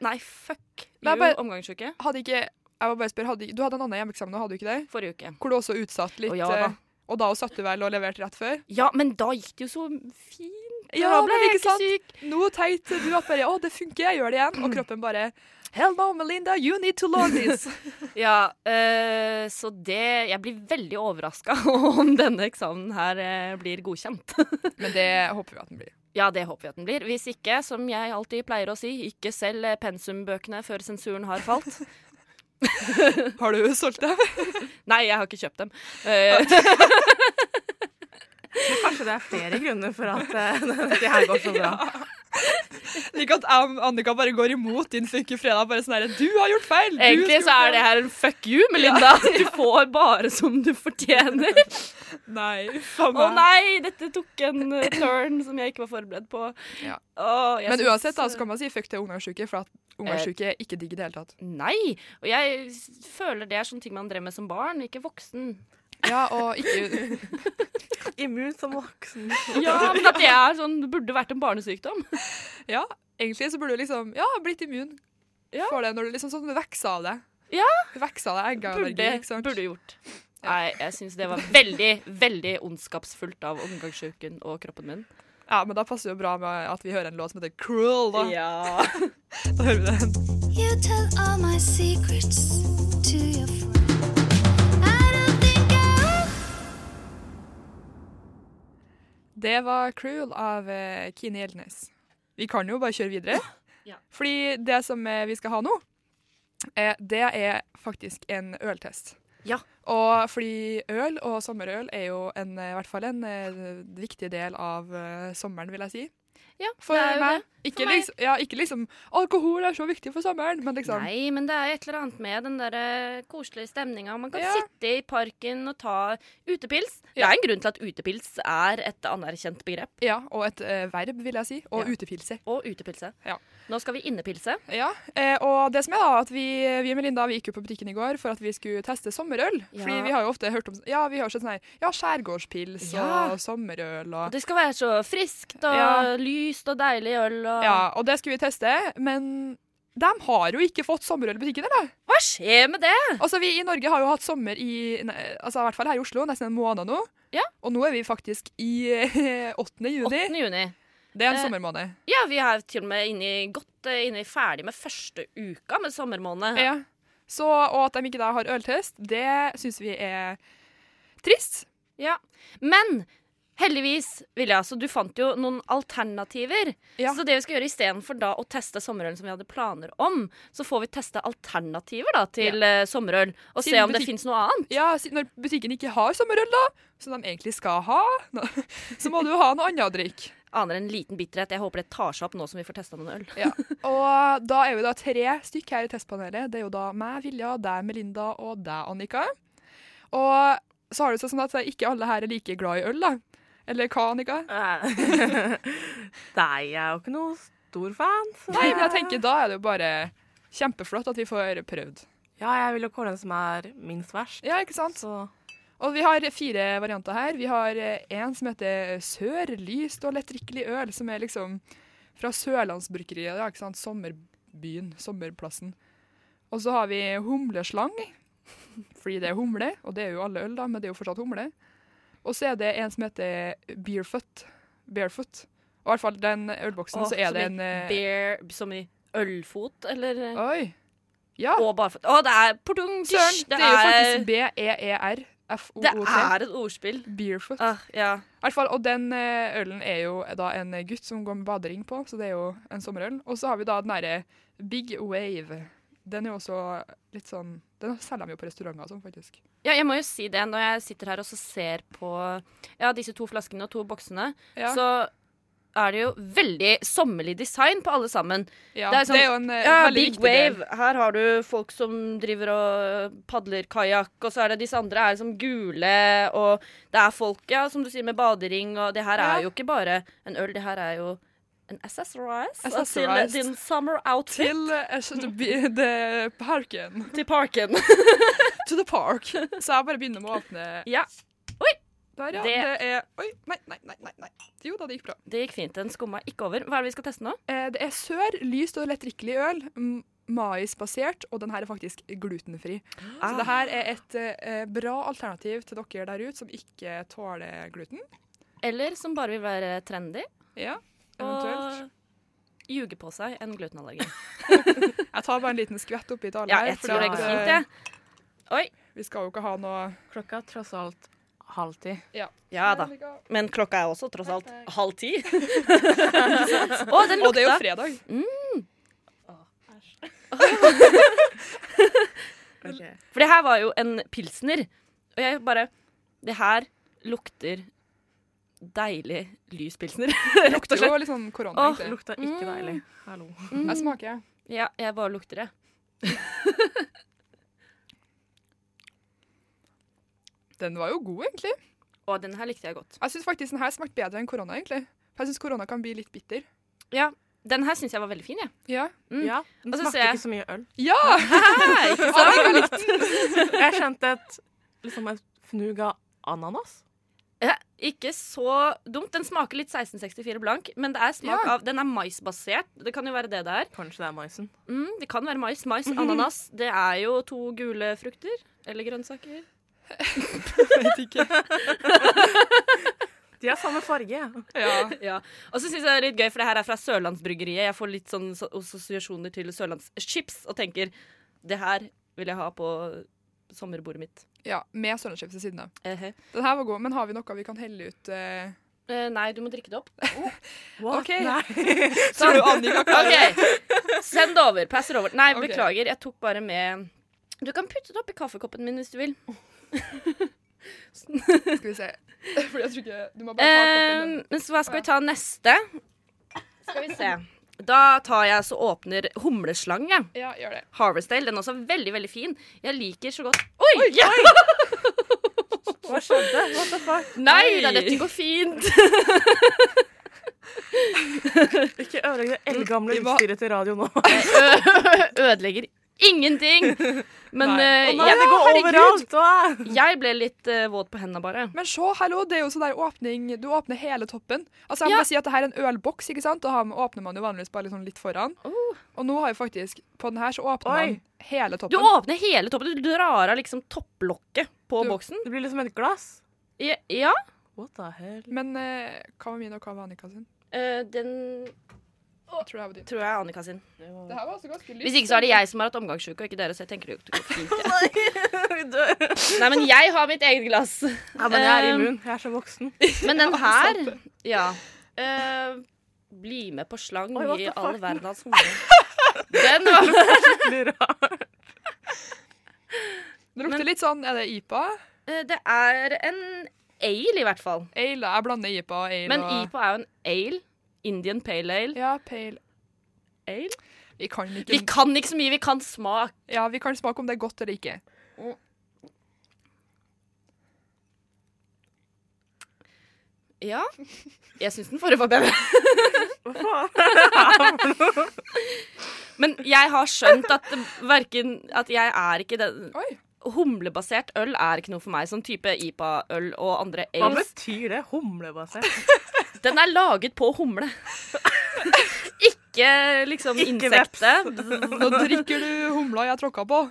[SPEAKER 4] nei, fuck
[SPEAKER 3] Men jeg
[SPEAKER 4] you,
[SPEAKER 3] bare-
[SPEAKER 4] omgangsuke.
[SPEAKER 3] Hadde ikke Jeg må bare spørre, hadde, Du hadde en annen hjemmeeksamen, nå, hadde du ikke det?
[SPEAKER 4] Forrige uke.
[SPEAKER 3] Hvor du også utsatt litt.
[SPEAKER 4] Å, ja da.
[SPEAKER 3] eh, og da også satt du vel og leverte rett før?
[SPEAKER 4] Ja, men da gikk det jo så fint.
[SPEAKER 3] Ja,
[SPEAKER 4] da ble
[SPEAKER 3] men
[SPEAKER 4] jeg
[SPEAKER 3] ikke
[SPEAKER 4] ikke
[SPEAKER 3] sant?
[SPEAKER 4] syk.
[SPEAKER 3] Nå tenkte du at bare, å, det funker, jeg gjør det igjen. Og kroppen bare Hell no, Melinda, you need to learn this.
[SPEAKER 4] Ja, eh, så det Jeg blir veldig overraska om denne eksamen her eh, blir godkjent.
[SPEAKER 3] Men det håper vi at den blir.
[SPEAKER 4] Ja, det håper vi at den blir. Hvis ikke, som jeg alltid pleier å si, ikke selg eh, pensumbøkene før sensuren har falt.
[SPEAKER 3] Har du solgt dem?
[SPEAKER 4] Nei, jeg har ikke kjøpt dem. Eh,
[SPEAKER 5] Kanskje det er flere grunner for at eh, det her går så bra.
[SPEAKER 3] Ikke at jeg og Annika bare går imot din funke fredag. Bare sånn herre, du har gjort feil! du
[SPEAKER 4] Eh, egentlig
[SPEAKER 3] skulle
[SPEAKER 4] så er
[SPEAKER 3] gjort
[SPEAKER 4] det her en fuck you, Melinda. Du får bare som du fortjener.
[SPEAKER 3] feil.» Nei, faen
[SPEAKER 4] Å
[SPEAKER 3] meg.
[SPEAKER 4] nei, dette tok en eh, turn som jeg ikke var forberedt på.
[SPEAKER 3] Ja.
[SPEAKER 4] Å, jeg
[SPEAKER 3] Men
[SPEAKER 4] synes- uh, Eh.
[SPEAKER 3] uansett da, så kan man si fuck til ungdomssyke, for at ungdomssyke er ikke digg i det hele tatt.
[SPEAKER 4] Nei. Og jeg s- føler det er sånne ting man drev med som barn, ikke voksen.
[SPEAKER 3] Ja, og ikke
[SPEAKER 5] Immun som voksen.
[SPEAKER 4] Ja, men at det er sånn, det burde vært en barnesykdom.
[SPEAKER 3] Ja, egentlig så burde du liksom Ja, blitt immun
[SPEAKER 4] Ja.
[SPEAKER 3] for det når du liksom sånn du vokser av det.
[SPEAKER 4] Ja.
[SPEAKER 3] Du vokser av deg eggeallergi,
[SPEAKER 4] Burde,
[SPEAKER 3] ikke sant.
[SPEAKER 4] burde gjort. Nei, jeg syns det var veldig, veldig ondskapsfullt av omgangsuken og kroppen min.
[SPEAKER 3] Ja, men da passer det jo bra med at vi hører en låt som heter 'Cruel', da.
[SPEAKER 4] Ja.
[SPEAKER 3] Da hører vi den.
[SPEAKER 8] You tell all my secrets to your friend. I don't think I
[SPEAKER 3] Det var 'Cruel' av eh, Kine Gjeldnes. Vi kan jo bare kjøre videre.
[SPEAKER 4] Ja.
[SPEAKER 3] Fordi det som eh, vi skal ha nå, eh, det er faktisk en øltest.
[SPEAKER 4] Ja.
[SPEAKER 3] Og fordi øl og sommerøl er jo en, eh, i hvert fall en eh, viktig del av eh, sommeren, vil jeg si.
[SPEAKER 4] Ja,
[SPEAKER 3] For
[SPEAKER 4] det er jo
[SPEAKER 3] meg.
[SPEAKER 4] det.
[SPEAKER 3] Ikke,
[SPEAKER 4] For meg.
[SPEAKER 3] Liksom, ja, ikke liksom 'alkohol er så viktig for sommeren', men liksom
[SPEAKER 4] Nei, men det er et eller annet med den der eh, koselige stemninga. Man kan
[SPEAKER 3] Ja.
[SPEAKER 4] sitte i parken og ta utepils. Det
[SPEAKER 3] Ja.
[SPEAKER 4] er en grunn til at utepils er et anerkjent begrep.
[SPEAKER 3] Ja, og et eh, verb, vil jeg si. Og
[SPEAKER 4] Ja.
[SPEAKER 3] utepilse.
[SPEAKER 4] Og utepilse.
[SPEAKER 3] Ja.
[SPEAKER 4] Nå skal vi innepilse.
[SPEAKER 3] Ja, eh, og det som er da, at vi, vi og Melinda vi gikk jo på butikken i går for at vi skulle teste sommerøl.
[SPEAKER 4] Ja.
[SPEAKER 3] Fordi vi har jo ofte hørt om Ja, vi har sett sånn her Ja, skjærgårdspils
[SPEAKER 4] Ja.
[SPEAKER 3] og sommerøl
[SPEAKER 4] Og
[SPEAKER 3] og
[SPEAKER 4] det skal være så friskt og
[SPEAKER 3] Ja.
[SPEAKER 4] lyst og deilig øl og
[SPEAKER 3] Ja, og det skulle vi teste, men de har jo ikke fått sommerøl i butikken, eller?
[SPEAKER 4] Hva skjer med det?
[SPEAKER 3] Altså, vi i Norge har jo hatt sommer i nei, Altså i hvert fall her i Oslo nesten en måned nå.
[SPEAKER 4] Ja.
[SPEAKER 3] Og nå er vi faktisk i eh, 8. juni.
[SPEAKER 4] 8. juni.
[SPEAKER 3] Det er en
[SPEAKER 4] Eh,
[SPEAKER 3] sommermåned.
[SPEAKER 4] Ja, vi er til og med inne i godt eh, inne i ferdig med første uka med sommermåned.
[SPEAKER 3] Ja. Så, og at de ikke da har øltest, det syns vi er trist.
[SPEAKER 4] Ja. Men heldigvis, Vilja, så du fant jo noen alternativer.
[SPEAKER 3] Ja.
[SPEAKER 4] Så det vi skal gjøre istedenfor da å teste sommerølen som vi hadde planer om, så får vi teste alternativer da til eh, sommerøl, og
[SPEAKER 3] Til
[SPEAKER 4] se om det
[SPEAKER 3] butikk-
[SPEAKER 4] fins noe annet.
[SPEAKER 3] Ja, si- når butikken ikke har sommerøl, da, som de egentlig skal ha, nå- så må du jo ha noe annet å drikke.
[SPEAKER 4] Aner en liten bitterhet. Jeg håper det tar seg opp nå som vi får testa noen øl.
[SPEAKER 3] Ja. Og da er vi da tre stykk her i testpanelet. Det er jo da meg, Vilja, deg, Melinda og deg, Annika. Og så har det seg sånn at ikke alle her er like glad i øl, da. Eller hva, Annika?
[SPEAKER 5] Nei, jeg er jo ikke noe stor fan. så-
[SPEAKER 3] Nei, men jeg tenker da er det jo bare kjempeflott at vi får prøvd.
[SPEAKER 5] Ja, jeg vil jo kåre den som er minst verst.
[SPEAKER 3] Ja, ikke sant?
[SPEAKER 5] Så
[SPEAKER 3] Og vi har fire varianter her. Vi har eh, en som heter Sør, lyst og lettdrikkelig øl, som er liksom fra Sørlandsbrukeriet, ja, ikke sant? Sommerbyen, sommerplassen. Og så har vi humleslang, fordi det er humle, og det er jo alle øl da, men det er jo fortsatt humle. Og så er det en som heter eh, Barefoot. Barefoot. Og i hvert fall den ølboksen,
[SPEAKER 4] Åh,
[SPEAKER 3] så er
[SPEAKER 4] som
[SPEAKER 3] det
[SPEAKER 4] i
[SPEAKER 3] en... eh,
[SPEAKER 4] Bear, som i ølfot, eller eh,
[SPEAKER 3] Oi! Ja,
[SPEAKER 4] Og barfot. Å, det er portung!
[SPEAKER 3] søren!
[SPEAKER 4] Søren!
[SPEAKER 3] Det er jo faktisk E B-E-E-R-F-O-O-T.
[SPEAKER 4] det er et ordspill.
[SPEAKER 3] Barefoot.
[SPEAKER 4] Ah, ja.
[SPEAKER 3] I hvert fall, Og den eh, ølen er jo da en gutt som går med badering på, så det er jo en sommerøl. Og så har vi da den derre Big Wave. Den er jo også litt sånn Den selger de jo på restauranter og sånn, faktisk.
[SPEAKER 4] Ja, jeg må jo si det når jeg sitter her og så ser på ja, disse to flaskene og to boksene.
[SPEAKER 3] Ja,
[SPEAKER 4] Så er det jo veldig sommerlig design på alle sammen.
[SPEAKER 3] ja.
[SPEAKER 4] det
[SPEAKER 3] Det,
[SPEAKER 4] er
[SPEAKER 3] er
[SPEAKER 4] sånn-
[SPEAKER 3] jo en eh,
[SPEAKER 4] Ja,
[SPEAKER 3] veldig
[SPEAKER 4] Big
[SPEAKER 3] viktig del.
[SPEAKER 4] Wave. Her har du folk som driver og padler kajakk, og så er det disse andre er som gule, og det er folk, ja, som du sier, med badering, og det her
[SPEAKER 3] Ja.
[SPEAKER 4] er jo ikke bare en øl, det her er jo en accessorize altså,
[SPEAKER 3] Accessorize.
[SPEAKER 4] til din summer outfit
[SPEAKER 3] Til eh, så det blir- det- parken.
[SPEAKER 4] til parken.
[SPEAKER 3] To the park. Så jeg bare begynner med å åpne
[SPEAKER 4] ja,
[SPEAKER 3] der, ja. Det,
[SPEAKER 4] Det-
[SPEAKER 3] er Oi, nei, nei, nei. nei, nei. Jo da, det gikk bra.
[SPEAKER 4] det gikk fint. Den skumma ikke over. Hva er det vi skal teste nå?
[SPEAKER 3] Eh, det er sør, lyst og lettdrikkelig øl. m- Maisbasert, og den her er faktisk glutenfri. Så
[SPEAKER 4] Ah.
[SPEAKER 3] det her er et eh, bra alternativ til dere der ute som ikke tåler gluten.
[SPEAKER 4] Eller som bare vil være trendy.
[SPEAKER 3] Ja, eventuelt.
[SPEAKER 4] Og ljuge på seg en glutenallergi.
[SPEAKER 3] Jeg tar bare en liten skvett oppi til alle
[SPEAKER 4] Ja,
[SPEAKER 3] her.
[SPEAKER 4] jeg tror det
[SPEAKER 5] at,
[SPEAKER 4] går
[SPEAKER 3] eh,
[SPEAKER 4] fint, jeg.
[SPEAKER 3] Vi skal jo ikke ha noe
[SPEAKER 5] klokka er tross alt halv ti.
[SPEAKER 4] Ja da. Men klokka er også tross alt halv ti. Å, den
[SPEAKER 3] Og det er jo
[SPEAKER 4] lukta.
[SPEAKER 3] fredag.
[SPEAKER 4] For det her var jo en pilsner. Og jeg bare Det her lukter deilig lys pilsner. Rett
[SPEAKER 3] Det
[SPEAKER 4] og
[SPEAKER 3] er
[SPEAKER 4] slett.
[SPEAKER 3] jo litt sånn korona.
[SPEAKER 4] Åh, Mm.
[SPEAKER 3] egentlig.
[SPEAKER 5] Lukta ikke deilig. Hallo.
[SPEAKER 3] Jeg smaker. jeg.
[SPEAKER 4] Ja, jeg bare lukter det.
[SPEAKER 3] Den var jo god, egentlig.
[SPEAKER 4] Å, den her likte jeg godt.
[SPEAKER 3] Jeg syns faktisk den her smakte bedre enn korona, egentlig. For jeg syns korona kan bli litt bitter.
[SPEAKER 4] Ja, den her syns jeg var veldig fin, jeg.
[SPEAKER 3] Ja!
[SPEAKER 4] Mm.
[SPEAKER 5] Ja, den
[SPEAKER 4] Og så ser
[SPEAKER 5] smakte
[SPEAKER 4] jeg-
[SPEAKER 5] ikke så mye øl.
[SPEAKER 3] ja!
[SPEAKER 4] ikke
[SPEAKER 3] Annika likte
[SPEAKER 5] Jeg kjente et, liksom et fnug av ananas.
[SPEAKER 4] Ja, ikke så dumt. Den smaker litt 1664 blank, men det er smak
[SPEAKER 3] Ja.
[SPEAKER 4] av Den er maisbasert. Det kan jo være det det er.
[SPEAKER 5] Kanskje det er maisen.
[SPEAKER 4] Mm, det kan være mais. Mais, ananas. Det er jo to gule frukter. Eller grønnsaker.
[SPEAKER 3] Vet ikke.
[SPEAKER 5] De har samme farge.
[SPEAKER 3] Ja.
[SPEAKER 4] Ja. Og så syns jeg det er litt gøy, for det her er fra Sørlandsbryggeriet. Jeg får litt sånn so- assosiasjoner til sørlandschips og tenker det her vil jeg ha på sommerbordet mitt.
[SPEAKER 3] ja med sørlandschips ved siden av.
[SPEAKER 4] Ehe.
[SPEAKER 3] Den her var god, men har vi noe vi kan helle ut? eh?
[SPEAKER 4] Eh, nei, du må drikke det opp.
[SPEAKER 5] What?
[SPEAKER 3] Ok.
[SPEAKER 5] Nei.
[SPEAKER 3] Tror du Annika klarer det?
[SPEAKER 4] Ok, Send det over. Passer over. Nei,
[SPEAKER 3] Ok.
[SPEAKER 4] beklager. Jeg tok bare med Du kan putte det oppi kaffekoppen min hvis du vil.
[SPEAKER 3] Skal vi se. Fordi jeg tror ikke Du må bare ta koppen.
[SPEAKER 4] Eh, men så hva skal vi ta neste? Skal vi se. Da tar jeg så åpner humleslang, jeg.
[SPEAKER 3] den. Ja, gjør det.
[SPEAKER 4] Harvestdale. Den er også veldig, veldig fin. Jeg liker så godt Oi! ja!
[SPEAKER 5] Hva skjedde? What the fuck?
[SPEAKER 4] Nei da, dette går fint.
[SPEAKER 5] Ikke ødelegg det eldgamle
[SPEAKER 3] Vi må-
[SPEAKER 5] utstyret til radio nå.
[SPEAKER 4] Ødelegger ingenting. Men eh,
[SPEAKER 5] Å nei,
[SPEAKER 4] ja,
[SPEAKER 5] det går
[SPEAKER 4] herregud.
[SPEAKER 5] overalt! Å.
[SPEAKER 4] Jeg ble litt eh, våt på hendene bare.
[SPEAKER 3] Men se, hallo, det er jo sånn der åpning Du åpner hele toppen. Altså, jeg må
[SPEAKER 4] Ja.
[SPEAKER 3] bare si at det her er en ølboks, ikke sant? Og her åpner man jo vanligvis bare litt sånn litt foran.
[SPEAKER 4] Oh.
[SPEAKER 3] Og nå har vi faktisk På den her så åpner
[SPEAKER 5] Oi.
[SPEAKER 3] man hele
[SPEAKER 4] Du
[SPEAKER 3] toppen.
[SPEAKER 4] åpner hele toppen. Du drar av liksom topplokket på
[SPEAKER 3] Du-
[SPEAKER 4] boksen.
[SPEAKER 5] Det blir liksom et glass.
[SPEAKER 4] Ja. ja.
[SPEAKER 5] What the hell?
[SPEAKER 3] Men eh, hva var min, og hva var Annika sin?
[SPEAKER 4] Eh, den
[SPEAKER 3] Jeg tror det her var din.
[SPEAKER 4] tror jeg er Annika sin.
[SPEAKER 3] Det her var altså ganske lyst.
[SPEAKER 4] Hvis ikke så er det jeg som har hatt omgangsuke, og ikke dere. Så jeg tenker det går fint. jeg.
[SPEAKER 5] Vi dør.
[SPEAKER 4] Nei, men jeg har mitt eget glass.
[SPEAKER 5] Ja, men jeg er immun. Jeg er så voksen.
[SPEAKER 4] Men den her Ja. Eh, bli med på slang
[SPEAKER 5] Oi, what
[SPEAKER 4] i
[SPEAKER 5] the
[SPEAKER 4] all
[SPEAKER 5] fuck?
[SPEAKER 4] verdens hode. Den var
[SPEAKER 5] Blir rar.
[SPEAKER 3] Det lukter
[SPEAKER 4] Men-
[SPEAKER 3] litt sånn Er det IPA?
[SPEAKER 4] Eh, Det er en ale, i hvert fall.
[SPEAKER 3] Ale? da. Jeg blander IPA og ale
[SPEAKER 4] Men
[SPEAKER 3] og
[SPEAKER 4] IPA er jo en ale. Indian pale ale.
[SPEAKER 3] Ja, pale
[SPEAKER 4] ale.
[SPEAKER 3] Vi kan ikke
[SPEAKER 4] Vi kan ikke så mye, vi kan smak.
[SPEAKER 3] Ja, vi kan smake om det er godt eller ikke.
[SPEAKER 4] Ja. Jeg syns den forrige var bedre.
[SPEAKER 5] Hva faen?
[SPEAKER 4] Men jeg har skjønt at verken At jeg er ikke den
[SPEAKER 3] Oi.
[SPEAKER 4] Humlebasert øl er ikke noe for meg. Sånn type IPA-øl og andre
[SPEAKER 5] Hva
[SPEAKER 4] ales.
[SPEAKER 5] betyr det? Humlebasert?
[SPEAKER 4] Den er laget på humle. Ikke liksom
[SPEAKER 5] Ikke
[SPEAKER 4] insektet.
[SPEAKER 3] Nå drikker du humla jeg tråkka på.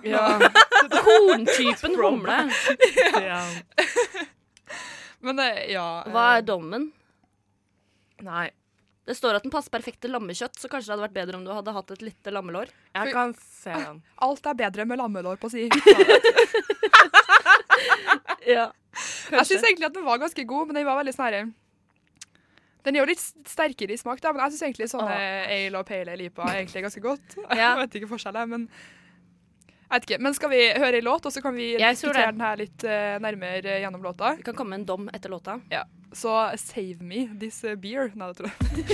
[SPEAKER 4] Korntypen humle.
[SPEAKER 5] Ja.
[SPEAKER 3] Men eh, ja eh,
[SPEAKER 4] Hva er dommen?
[SPEAKER 5] Nei.
[SPEAKER 4] Det står at den passer perfekt til lammekjøtt, så kanskje det hadde vært bedre om du hadde hatt et lite lammelår.
[SPEAKER 5] Jeg kan se den.
[SPEAKER 3] Alt er bedre med lammelår på si.
[SPEAKER 4] Ja,
[SPEAKER 3] Jeg syns egentlig at den var ganske god, men den var veldig sånn herre Den er jo litt sterkere i smak, da, men jeg syns egentlig sånne ale og pale ale IPA er egentlig ganskje godt.
[SPEAKER 4] Ja.
[SPEAKER 3] Jeg vet ikke forskjellen, men jeg vet ikke. Men skal vi høre en låt, og så kan vi
[SPEAKER 4] Jeg tror
[SPEAKER 3] diskutere
[SPEAKER 4] det.
[SPEAKER 3] den her litt eh, nærmere eh, gjennom låta?
[SPEAKER 4] Vi kan komme med en dom etter låta.
[SPEAKER 3] Så save me this eh, beer. Nei, det tror jeg.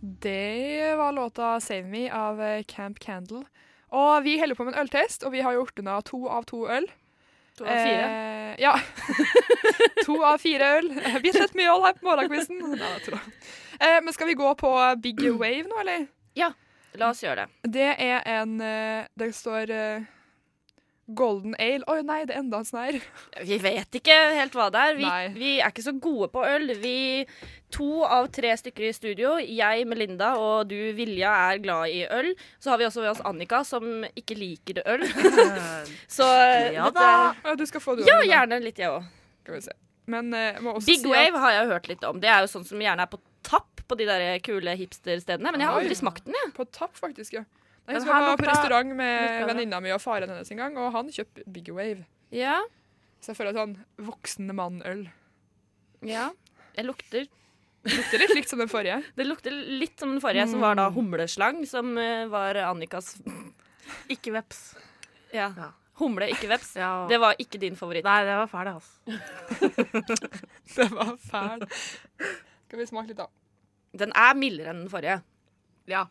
[SPEAKER 3] Det var låta 'Save Me' av eh, Camp Candle. Og vi holder på med en øltest, og vi har gjort unna to av to øl.
[SPEAKER 4] To av fire.
[SPEAKER 3] Eh, ja. to av fire øl. Bitte litt mye øl her på morgenkvisten. Nei, det tror jeg. Eh, men skal vi gå på Big Wave nå, eller?
[SPEAKER 4] La oss gjøre det.
[SPEAKER 3] Det er en eh, Det står eh, Golden Ale. Oi, nei, det er enda en sånn her.
[SPEAKER 4] Vi vet ikke helt hva det er. Vi,
[SPEAKER 3] Nei.
[SPEAKER 4] vi er ikke så gode på øl. Vi to av tre stykker i studio, jeg Melinda og du Vilja, er glad i øl. Så har vi også med oss Annika, som ikke liker øl. Så
[SPEAKER 5] Ja
[SPEAKER 4] dette-
[SPEAKER 5] da.
[SPEAKER 3] Ja, du skal få det.
[SPEAKER 4] Ja, gjerne litt, jeg òg.
[SPEAKER 3] Skal vi se. Men eh, må også
[SPEAKER 4] Big
[SPEAKER 3] si
[SPEAKER 4] Wave har jeg hørt litt om. Det er jo sånn som gjerne er på tapp på de der kule hipsterstedene. Men jeg har
[SPEAKER 3] Oi.
[SPEAKER 4] aldri smakt den, jeg.
[SPEAKER 3] At på tapp, faktisk. ja. Jeg
[SPEAKER 5] Den
[SPEAKER 3] husker
[SPEAKER 5] her
[SPEAKER 3] jeg var på
[SPEAKER 5] lukta-
[SPEAKER 3] restaurant med
[SPEAKER 5] lukta det.
[SPEAKER 3] venninna mi og faren hennes en gang, og han kjøpte Big Wave.
[SPEAKER 4] Ja.
[SPEAKER 3] Så jeg føler at sånn voksen mann-øl.
[SPEAKER 4] ja. Jeg lukter
[SPEAKER 3] Lukter litt likt som den forrige.
[SPEAKER 4] Det lukter litt som den forrige, som var da humleslang, som eh, var Annikas
[SPEAKER 5] Ikke veps.
[SPEAKER 4] ja.
[SPEAKER 5] Ja.
[SPEAKER 4] Humle, ikke veps.
[SPEAKER 5] Ja.
[SPEAKER 4] Det var ikke din favoritt.
[SPEAKER 5] Nei, det var fæl, det, altså.
[SPEAKER 3] Det var fæl. Skal vi smake litt, da.
[SPEAKER 4] Den er mildere enn den forrige.
[SPEAKER 5] Ja.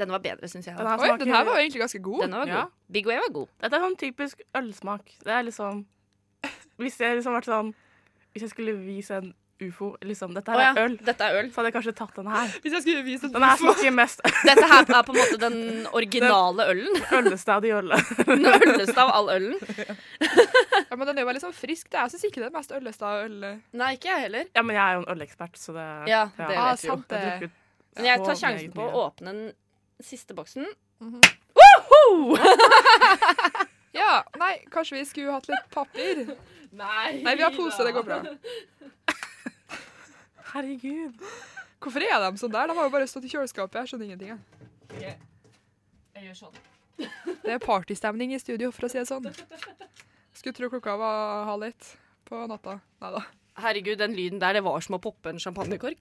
[SPEAKER 4] Den var bedre, syns jeg.
[SPEAKER 5] Den her
[SPEAKER 3] Oi,
[SPEAKER 5] smaker-
[SPEAKER 3] den her var jo egentlig ganske god.
[SPEAKER 4] Den var god.
[SPEAKER 5] Ja.
[SPEAKER 4] Big Wave er god.
[SPEAKER 5] Dette er sånn typisk ølsmak. Det er liksom Hvis jeg liksom vært sånn Hvis jeg skulle vise en ufo liksom, Dette her
[SPEAKER 4] Å, ja.
[SPEAKER 5] er øl,
[SPEAKER 4] Dette er øl.
[SPEAKER 5] så hadde jeg kanskje tatt den her.
[SPEAKER 3] Hvis jeg skulle vise
[SPEAKER 5] Den her
[SPEAKER 3] den
[SPEAKER 5] smaker mest
[SPEAKER 4] Dette her er på en måte den originale ølen.
[SPEAKER 5] ølestadig øl.
[SPEAKER 4] Den øleste av all ølen.
[SPEAKER 3] ja, Men den er jo veldig sånn frisk. Det er, jeg syns ikke det er mest ølesta øl. eh.
[SPEAKER 4] Nei, ikke jeg heller.
[SPEAKER 5] Ja, men jeg er jo en ølekspert, så det
[SPEAKER 4] Ja, det
[SPEAKER 3] Ah,
[SPEAKER 4] vet vi jo.
[SPEAKER 3] sant det.
[SPEAKER 5] Jeg drikker
[SPEAKER 4] Men jeg
[SPEAKER 5] så
[SPEAKER 4] tar sjansen
[SPEAKER 5] meget
[SPEAKER 4] på
[SPEAKER 5] mye.
[SPEAKER 4] å åpne den siste boksen.
[SPEAKER 3] Ja, nei, kanskje vi skulle hatt litt papir?
[SPEAKER 4] Nei,
[SPEAKER 3] Nei, vi har pose, det går bra.
[SPEAKER 5] Herregud.
[SPEAKER 3] Hvorfor er de sånn der? De har jo bare stått i kjøleskapet. Jeg skjønner ingenting. jeg.
[SPEAKER 4] Jeg gjør sånn.
[SPEAKER 3] Det er partystemning i studio, for å si det sånn. Skulle tro klokka var halv ett på natta. Nei da.
[SPEAKER 4] Herregud, den lyden der, det var som å poppe en champagnekork.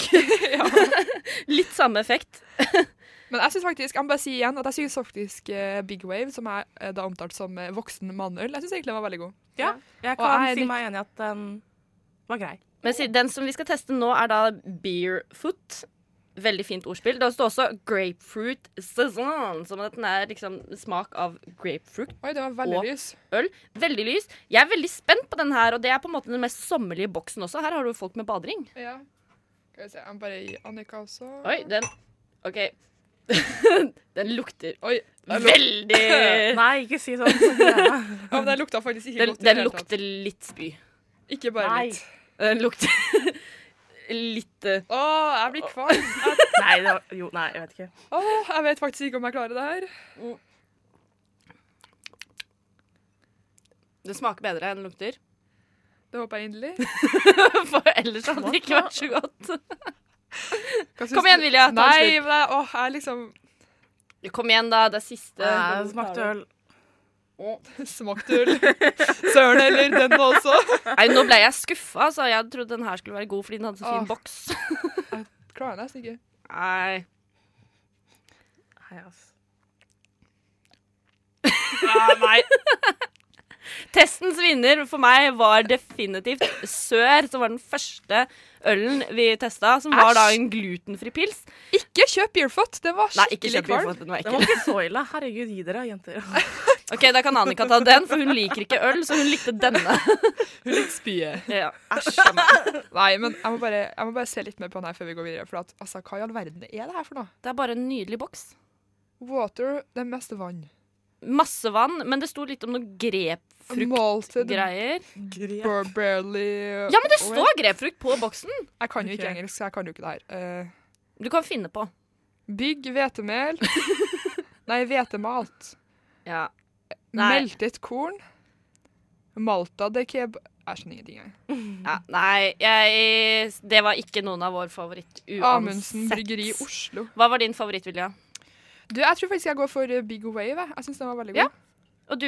[SPEAKER 4] Litt samme effekt.
[SPEAKER 3] Men jeg synes faktisk, jeg må bare si igjen at jeg synes faktisk eh, Big Wave, som er eh, da omtalt som eh, voksen mannøl, jeg synes egentlig den var veldig god.
[SPEAKER 5] Ja, jeg
[SPEAKER 3] Og
[SPEAKER 5] kan
[SPEAKER 3] jeg er
[SPEAKER 5] si
[SPEAKER 3] litt-
[SPEAKER 5] meg enig i at den var grei.
[SPEAKER 4] Men si- den som vi skal teste nå, er da Beerfoot. Veldig fint ordspill. Det står også grapefruit saison, som at den er liksom smak av grapefruit.
[SPEAKER 3] Oi, det var veldig
[SPEAKER 4] Og-
[SPEAKER 3] lys.
[SPEAKER 4] Øl. Veldig lys. Jeg er veldig spent på den her, og det er på en måte den mest sommerlige boksen også. Her har du folk med badering.
[SPEAKER 3] Ja. Skal vi se, jeg må bare gi Annika også.
[SPEAKER 4] Oi, den OK. den lukter
[SPEAKER 3] Oi, den luk-
[SPEAKER 4] veldig
[SPEAKER 5] Nei, ikke si sånn. Ja.
[SPEAKER 3] Ja, men den lukta faktisk ikke godt i
[SPEAKER 4] Den,
[SPEAKER 3] det
[SPEAKER 4] den
[SPEAKER 3] hele tatt.
[SPEAKER 4] lukter litt spy.
[SPEAKER 3] Ikke bare
[SPEAKER 5] Nei.
[SPEAKER 3] litt.
[SPEAKER 4] Den lukter litt eh,
[SPEAKER 3] Å, jeg blir kvalm.
[SPEAKER 5] Nei, det var, jo, nei, jeg vet ikke.
[SPEAKER 3] Å, jeg vet faktisk ikke om jeg klarer det her.
[SPEAKER 4] Det smaker bedre enn det lukter.
[SPEAKER 3] Det håper jeg inderlig.
[SPEAKER 4] For ellers hadde det ikke vært så godt.
[SPEAKER 3] Hva synes
[SPEAKER 4] Kom igjen,
[SPEAKER 3] du?
[SPEAKER 4] Vilja. Ta en
[SPEAKER 3] Nei,
[SPEAKER 4] slurk.
[SPEAKER 3] men jeg, åh, jeg liksom
[SPEAKER 4] Kom igjen, da. Det er siste.
[SPEAKER 5] Det smakte øl.
[SPEAKER 3] smakte ull. Søren heller, den også.
[SPEAKER 4] Nei, nå ble jeg skuffa. Altså. Jeg trodde den her skulle være god fordi den hadde så fin
[SPEAKER 3] Åh.
[SPEAKER 4] boks.
[SPEAKER 3] Klarer jeg nesten ikke.
[SPEAKER 4] Nei.
[SPEAKER 5] Nei, altså. ass.
[SPEAKER 4] Testens vinner for meg var definitivt Sør, som var den første ølen vi testa, som var da en glutenfri pils.
[SPEAKER 3] Ikke kjøp Beerfoot, den var
[SPEAKER 4] Nei, ikke
[SPEAKER 3] skikkelig
[SPEAKER 4] kjøp
[SPEAKER 3] kvalm.
[SPEAKER 4] for at den var
[SPEAKER 5] Det var
[SPEAKER 4] ekkel.
[SPEAKER 5] ikke så ille. Herregud, gi dere, jenter.
[SPEAKER 4] Ok, Da kan Annika ta den, for hun liker ikke øl, så hun likte denne.
[SPEAKER 3] Litt spye.
[SPEAKER 4] Ja, æsj a meg.
[SPEAKER 3] Nei, men jeg må, bare, jeg må bare se litt mer på den her før vi går videre. For at, altså, hva i all verden er det her for noe?
[SPEAKER 4] Det er bare en nydelig boks.
[SPEAKER 3] Water, det er mest vann.
[SPEAKER 4] Masse vann, men det sto litt om noe grepfruktgreier.
[SPEAKER 3] Malted Burberry
[SPEAKER 4] Ja, men det står grepfrukt på boksen!
[SPEAKER 3] Jeg kan jo ikke
[SPEAKER 5] Ok.
[SPEAKER 3] engelsk, så jeg kan jo ikke det her. Eh,
[SPEAKER 4] Du kan finne på.
[SPEAKER 3] bygg hvetemel. Nei, hvetemalt.
[SPEAKER 4] Ja. Nei.
[SPEAKER 3] Meltet korn. Malta de keb... Jeg skjønner ingenting, jeg.
[SPEAKER 4] Ja, nei, jeg, det var ikke noen av vår favoritt
[SPEAKER 3] Amundsen
[SPEAKER 4] uansett.
[SPEAKER 3] Bryggeri Oslo.
[SPEAKER 4] Hva var din favoritt, Vilja?
[SPEAKER 3] Du, jeg tror faktisk jeg går for eh, Big Wave. Jeg, jeg syns den var veldig god.
[SPEAKER 4] Ja. Og du,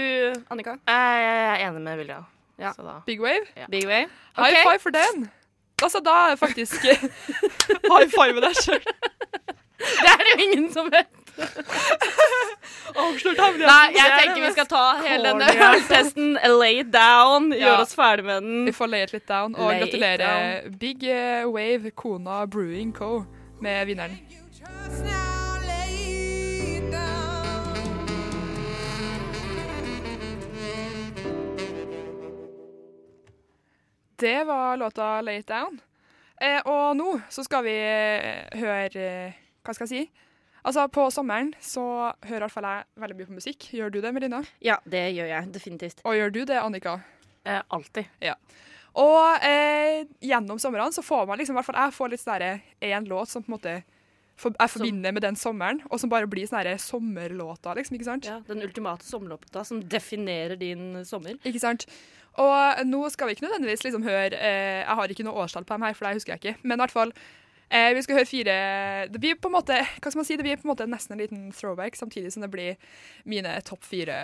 [SPEAKER 4] Annika?
[SPEAKER 5] Eh, Jeg er enig med Vilja.
[SPEAKER 4] Ja.
[SPEAKER 5] Så da.
[SPEAKER 3] Big Wave.
[SPEAKER 4] Big Way?
[SPEAKER 3] High five for den! Altså, da er jeg faktisk High five med deg sjøl.
[SPEAKER 4] Det er det jo ingen som vet.
[SPEAKER 3] Avslørt hemmeligheten. Det
[SPEAKER 4] Nei,
[SPEAKER 3] er
[SPEAKER 4] jeg
[SPEAKER 3] det
[SPEAKER 4] tenker vi
[SPEAKER 3] mest-
[SPEAKER 4] skal ta hele denne
[SPEAKER 5] corny,
[SPEAKER 4] øltesten. Lay it down.
[SPEAKER 3] Ja.
[SPEAKER 4] Gjøre oss ferdig med
[SPEAKER 3] Vi
[SPEAKER 4] den.
[SPEAKER 3] får lay it litt down, og
[SPEAKER 4] Lay it
[SPEAKER 3] gratulerer Big eh, Wave Kona Brewing Co. med vinneren.
[SPEAKER 9] Trust now, lay it down.
[SPEAKER 3] Det var låta Lay It Down. Eh, og nå så skal vi eh, høre eh, Hva skal jeg si? Altså, på sommeren så hører i hvert fall jeg veldig mye på musikk. Gjør du det, Melina?
[SPEAKER 4] Ja, det gjør jeg definitivt.
[SPEAKER 3] Og gjør du det, Annika?
[SPEAKER 5] Eh, alltid.
[SPEAKER 3] Og eh, gjennom somrene så får man liksom, i hvert fall jeg får litt sånn én låt som på en måte for, jeg forbinder med den sommeren, og som bare blir sånn herre sommerlåta, liksom, ikke sant?
[SPEAKER 4] Ja, den ultimate sommerlåta som definerer din sommer.
[SPEAKER 3] Ikke sant? Og nå skal vi ikke nødvendigvis liksom høre eh, Jeg har ikke noe årstall på dem her, for det husker jeg ikke. Men i hvert fall, eh, vi skal høre fire Det blir på en måte hva skal man si, det blir på en måte nesten en liten throwback, samtidig som det blir mine topp fire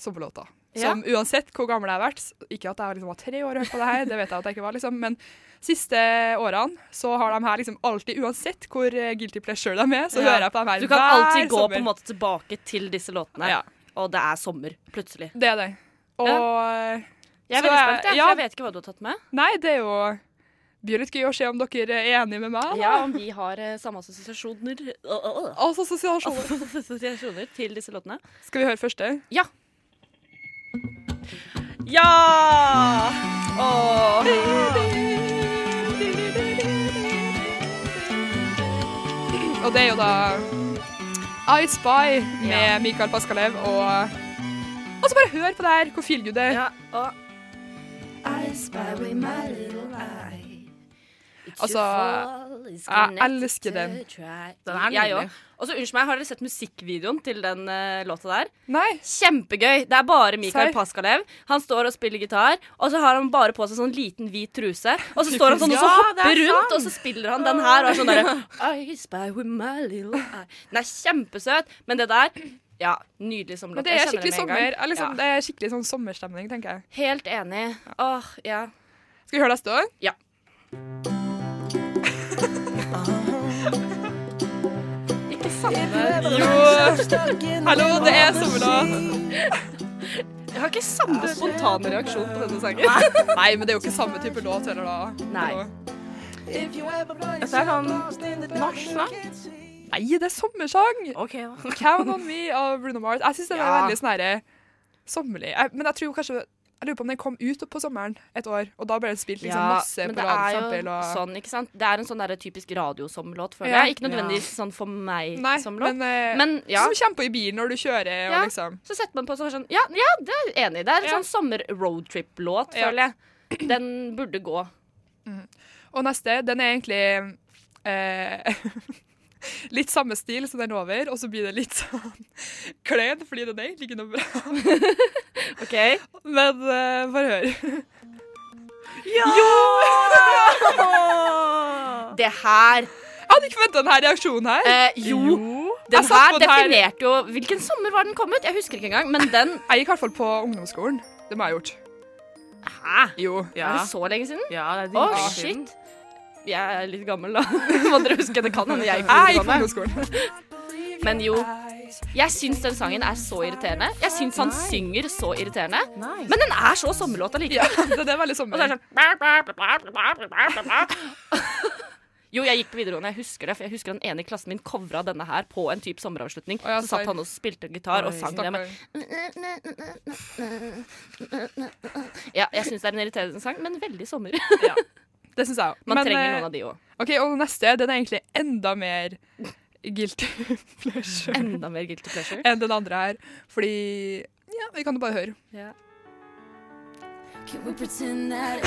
[SPEAKER 3] sommerlåter.
[SPEAKER 4] Ja.
[SPEAKER 3] Som uansett hvor gammel jeg har vært Ikke at jeg liksom var tre år og hørte på det her, det vet jeg at jeg ikke var, liksom, men siste årene så har de her liksom alltid, uansett hvor eh, guilty pleasure de er, så
[SPEAKER 4] Ja.
[SPEAKER 3] hører jeg på dem her
[SPEAKER 4] Du kan
[SPEAKER 3] hver
[SPEAKER 4] alltid gå
[SPEAKER 3] sommer.
[SPEAKER 4] på en måte tilbake til disse låtene,
[SPEAKER 3] Ja,
[SPEAKER 4] og det er sommer plutselig.
[SPEAKER 3] det er det. Og
[SPEAKER 4] Jeg
[SPEAKER 3] Så
[SPEAKER 4] er veldig
[SPEAKER 3] jeg-
[SPEAKER 4] spent, jeg,
[SPEAKER 3] ja.
[SPEAKER 4] for jeg vet ikke hva du har tatt med.
[SPEAKER 3] Nei, det er jo blir litt gøy å se om dere er enige med meg.
[SPEAKER 4] Ja, om vi har eh, samme assosiasjoner Å, å, å.
[SPEAKER 3] Altså sosialisjoner.
[SPEAKER 4] Assosiasjoner til disse låtene.
[SPEAKER 3] Skal vi høre første?
[SPEAKER 4] Ja! Åh.
[SPEAKER 3] Og det er jo da I Spy med Mikael Paskalev og Og så bare hør på det her, hvor feelgood det er.
[SPEAKER 4] Ja, og
[SPEAKER 3] Altså,
[SPEAKER 4] Altså, Your fault.
[SPEAKER 3] Jeg elsker den.
[SPEAKER 5] Den er
[SPEAKER 4] Jeg
[SPEAKER 5] nydelig.
[SPEAKER 4] òg. Og så unnskyld meg, har dere sett musikkvideoen til den eh, låta der?
[SPEAKER 3] Nei,
[SPEAKER 4] Kjempegøy! Det er bare Mikael
[SPEAKER 3] Serr?
[SPEAKER 4] Paskalev. Han står og spiller gitar, og så har han bare på seg sånn liten hvit truse. Og så står han sånn og så
[SPEAKER 5] Ja, det
[SPEAKER 4] hopper
[SPEAKER 5] er
[SPEAKER 4] rundt,
[SPEAKER 5] sant.
[SPEAKER 4] og så spiller han den her. Og er sånn derre I spy with my little eye. Den er kjempesøt, men det der ja, Nydelig som låt.
[SPEAKER 3] men det
[SPEAKER 4] Jeg
[SPEAKER 3] er
[SPEAKER 4] kjenner
[SPEAKER 3] skikkelig
[SPEAKER 4] med en gang.
[SPEAKER 3] sommer. Eller sånn,
[SPEAKER 4] Ja.
[SPEAKER 3] Det er skikkelig sånn sommerstemning, tenker jeg.
[SPEAKER 4] Helt enig. Åh, ja.
[SPEAKER 3] Skal vi høre neste år?
[SPEAKER 4] Ja.
[SPEAKER 3] Ikke samme Jo. Hallo, det er sommerlåt.
[SPEAKER 4] Jeg har ikke samme spontane reaksjon på denne sangen.
[SPEAKER 3] Nei, men det er jo ikke samme type låt heller, da.
[SPEAKER 4] Nei.
[SPEAKER 5] Dette er sånn norsk sang.
[SPEAKER 3] Nei, det er sommersang!
[SPEAKER 5] OK, da.
[SPEAKER 3] Count on me av Bruno Mars. Jeg syns den er
[SPEAKER 5] Ja.
[SPEAKER 3] veldig sånn herre sommerlig. Jeg, men jeg tror kanskje Jeg lurer på om den kom ut på sommeren et år, og da ble den spilt liksom masse
[SPEAKER 4] men
[SPEAKER 3] på
[SPEAKER 4] det
[SPEAKER 3] Radio
[SPEAKER 4] er
[SPEAKER 3] Sample
[SPEAKER 4] jo
[SPEAKER 3] og
[SPEAKER 4] sånn, ikke sant? Det er en sånn der typisk radiosommerlåt, føler
[SPEAKER 3] Ja.
[SPEAKER 4] jeg. Ikke nødvendigvis sånn for meg
[SPEAKER 3] Nei,
[SPEAKER 4] som låt.
[SPEAKER 3] men, eh,
[SPEAKER 4] Men ja,
[SPEAKER 3] Som kommer på i bilen når du kjører og
[SPEAKER 4] Ja.
[SPEAKER 3] liksom
[SPEAKER 4] så setter man på sånn, sånn Ja, ja det er jeg enig i. Det er en
[SPEAKER 3] Ja.
[SPEAKER 4] sånn sommer-roadtrip-låt,
[SPEAKER 3] Ja.
[SPEAKER 4] føler jeg. Den burde gå.
[SPEAKER 3] Og neste, den er egentlig eh, Litt samme stil som den over, og så blir det litt sånn klein, fordi den er egentlig ikke noe bra.
[SPEAKER 4] OK?
[SPEAKER 3] Men eh, bare hør.
[SPEAKER 4] Det her
[SPEAKER 3] Jeg hadde ikke venta denne reaksjonen her.
[SPEAKER 4] eh, Jo,
[SPEAKER 3] Jeg
[SPEAKER 4] den
[SPEAKER 3] satt
[SPEAKER 4] her
[SPEAKER 3] på den her-
[SPEAKER 4] definerte jo Hvilken sommer var den kommet? Jeg husker ikke engang, men den
[SPEAKER 3] Jeg gikk i hvert fall på ungdomsskolen. Det må jeg ha gjort.
[SPEAKER 4] Hæ?
[SPEAKER 3] Jo.
[SPEAKER 5] Ja.
[SPEAKER 4] Er det så lenge siden?
[SPEAKER 5] ja, det er
[SPEAKER 4] Å,
[SPEAKER 5] dritlenge siden.
[SPEAKER 4] shit. Jeg er litt gammel, da. Må dere huske, det kan hende jeg
[SPEAKER 3] Jeg gikk på
[SPEAKER 4] gammel.
[SPEAKER 3] Ah, ungdomsskolen.
[SPEAKER 4] Men jo, jeg syns den sangen er så irriterende. Jeg syns han synger så irriterende.
[SPEAKER 5] Nice.
[SPEAKER 4] Men den er så sommerlåt
[SPEAKER 3] Ja,
[SPEAKER 4] allikevel.
[SPEAKER 3] det det er veldig
[SPEAKER 4] Og så er
[SPEAKER 3] sommer.
[SPEAKER 4] det sånn Jo, jeg gikk på videregående, jeg husker det. For jeg husker den ene i klassen min covra denne her på en type sommeravslutning.
[SPEAKER 3] Å ja,
[SPEAKER 4] Så satt
[SPEAKER 3] sorry.
[SPEAKER 4] han og spilte gitar og
[SPEAKER 5] Oi.
[SPEAKER 4] sang det.
[SPEAKER 3] Stakkar.
[SPEAKER 4] Men ja, jeg syns det er en irriterende sang, men veldig sommer.
[SPEAKER 3] Det syns jeg òg.
[SPEAKER 4] Man trenger noen av de òg.
[SPEAKER 3] OK, og neste, den er egentlig enda mer guilty pleasure
[SPEAKER 4] Enda mer guilty pleasure.
[SPEAKER 3] enn den andre her, fordi Ja, vi kan jo bare høre.
[SPEAKER 4] Ja.
[SPEAKER 8] Can we pretend that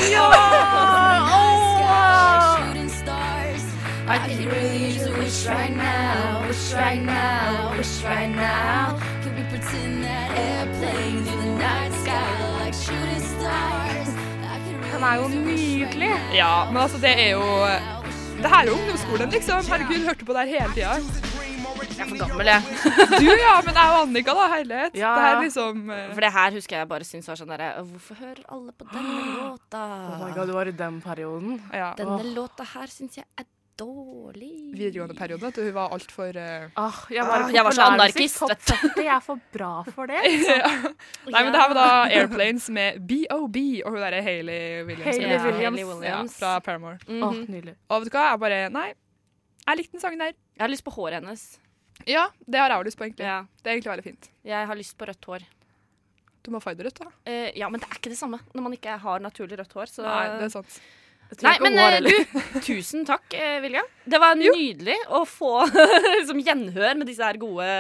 [SPEAKER 8] shooting stars? I could really use a wish right now, wish right now, wish right now. Can we pretend that airplanes in the night sky like shooting stars? I could really
[SPEAKER 5] Den er jo nydelig.
[SPEAKER 3] Ja, men altså, det er jo Det her er jo ungdomsskolen, liksom. Herregud, hørte på det her hele tida.
[SPEAKER 4] Jeg er for gammel, jeg.
[SPEAKER 3] Du, ja, men jeg og Annika, da. Herlighet.
[SPEAKER 5] Ja,
[SPEAKER 3] Det her
[SPEAKER 5] ja.
[SPEAKER 3] liksom eh,
[SPEAKER 4] For det her husker jeg bare syns var sånn derre Hvorfor hører alle på denne låta?
[SPEAKER 5] Oh my god, du var i den perioden.
[SPEAKER 3] ja.
[SPEAKER 4] Denne låta her syns jeg er dårlig.
[SPEAKER 3] Videregående periode, vet du. Hun var altfor uh...
[SPEAKER 5] Åh, jeg, bare
[SPEAKER 4] Ah, jeg var så
[SPEAKER 5] populærmusikk,
[SPEAKER 4] anarkist,
[SPEAKER 5] topp
[SPEAKER 4] vet
[SPEAKER 5] 40, Jeg er for bra for det.
[SPEAKER 3] Nei, men det her var da Airplanes med BOB og hun derre Hayley Williams.
[SPEAKER 5] Hayley
[SPEAKER 4] Ja,
[SPEAKER 5] Williams.
[SPEAKER 4] Hayley
[SPEAKER 3] Ja,
[SPEAKER 4] Williams. Mhm.
[SPEAKER 3] fra Paramore.
[SPEAKER 5] Åh, nydelig.
[SPEAKER 3] Mm. Og vet du hva, jeg bare Nei, jeg likte den sangen der.
[SPEAKER 4] Jeg har lyst på håret hennes.
[SPEAKER 3] Ja, det har jeg også lyst på, egentlig.
[SPEAKER 4] Ja.
[SPEAKER 3] Det er egentlig veldig fint.
[SPEAKER 4] Jeg har lyst på rødt hår.
[SPEAKER 3] Du må ha feiderrødt, da.
[SPEAKER 4] Eh, ja, men det er ikke det samme når man ikke har naturlig rødt hår. Så
[SPEAKER 3] Nei, det er sant.
[SPEAKER 5] Jeg tror
[SPEAKER 4] Nei,
[SPEAKER 5] ikke
[SPEAKER 4] men
[SPEAKER 5] hår
[SPEAKER 4] eh,
[SPEAKER 5] heller.
[SPEAKER 4] du, tusen takk, eh, William. Det var nydelig å få liksom, gjenhør med disse her gode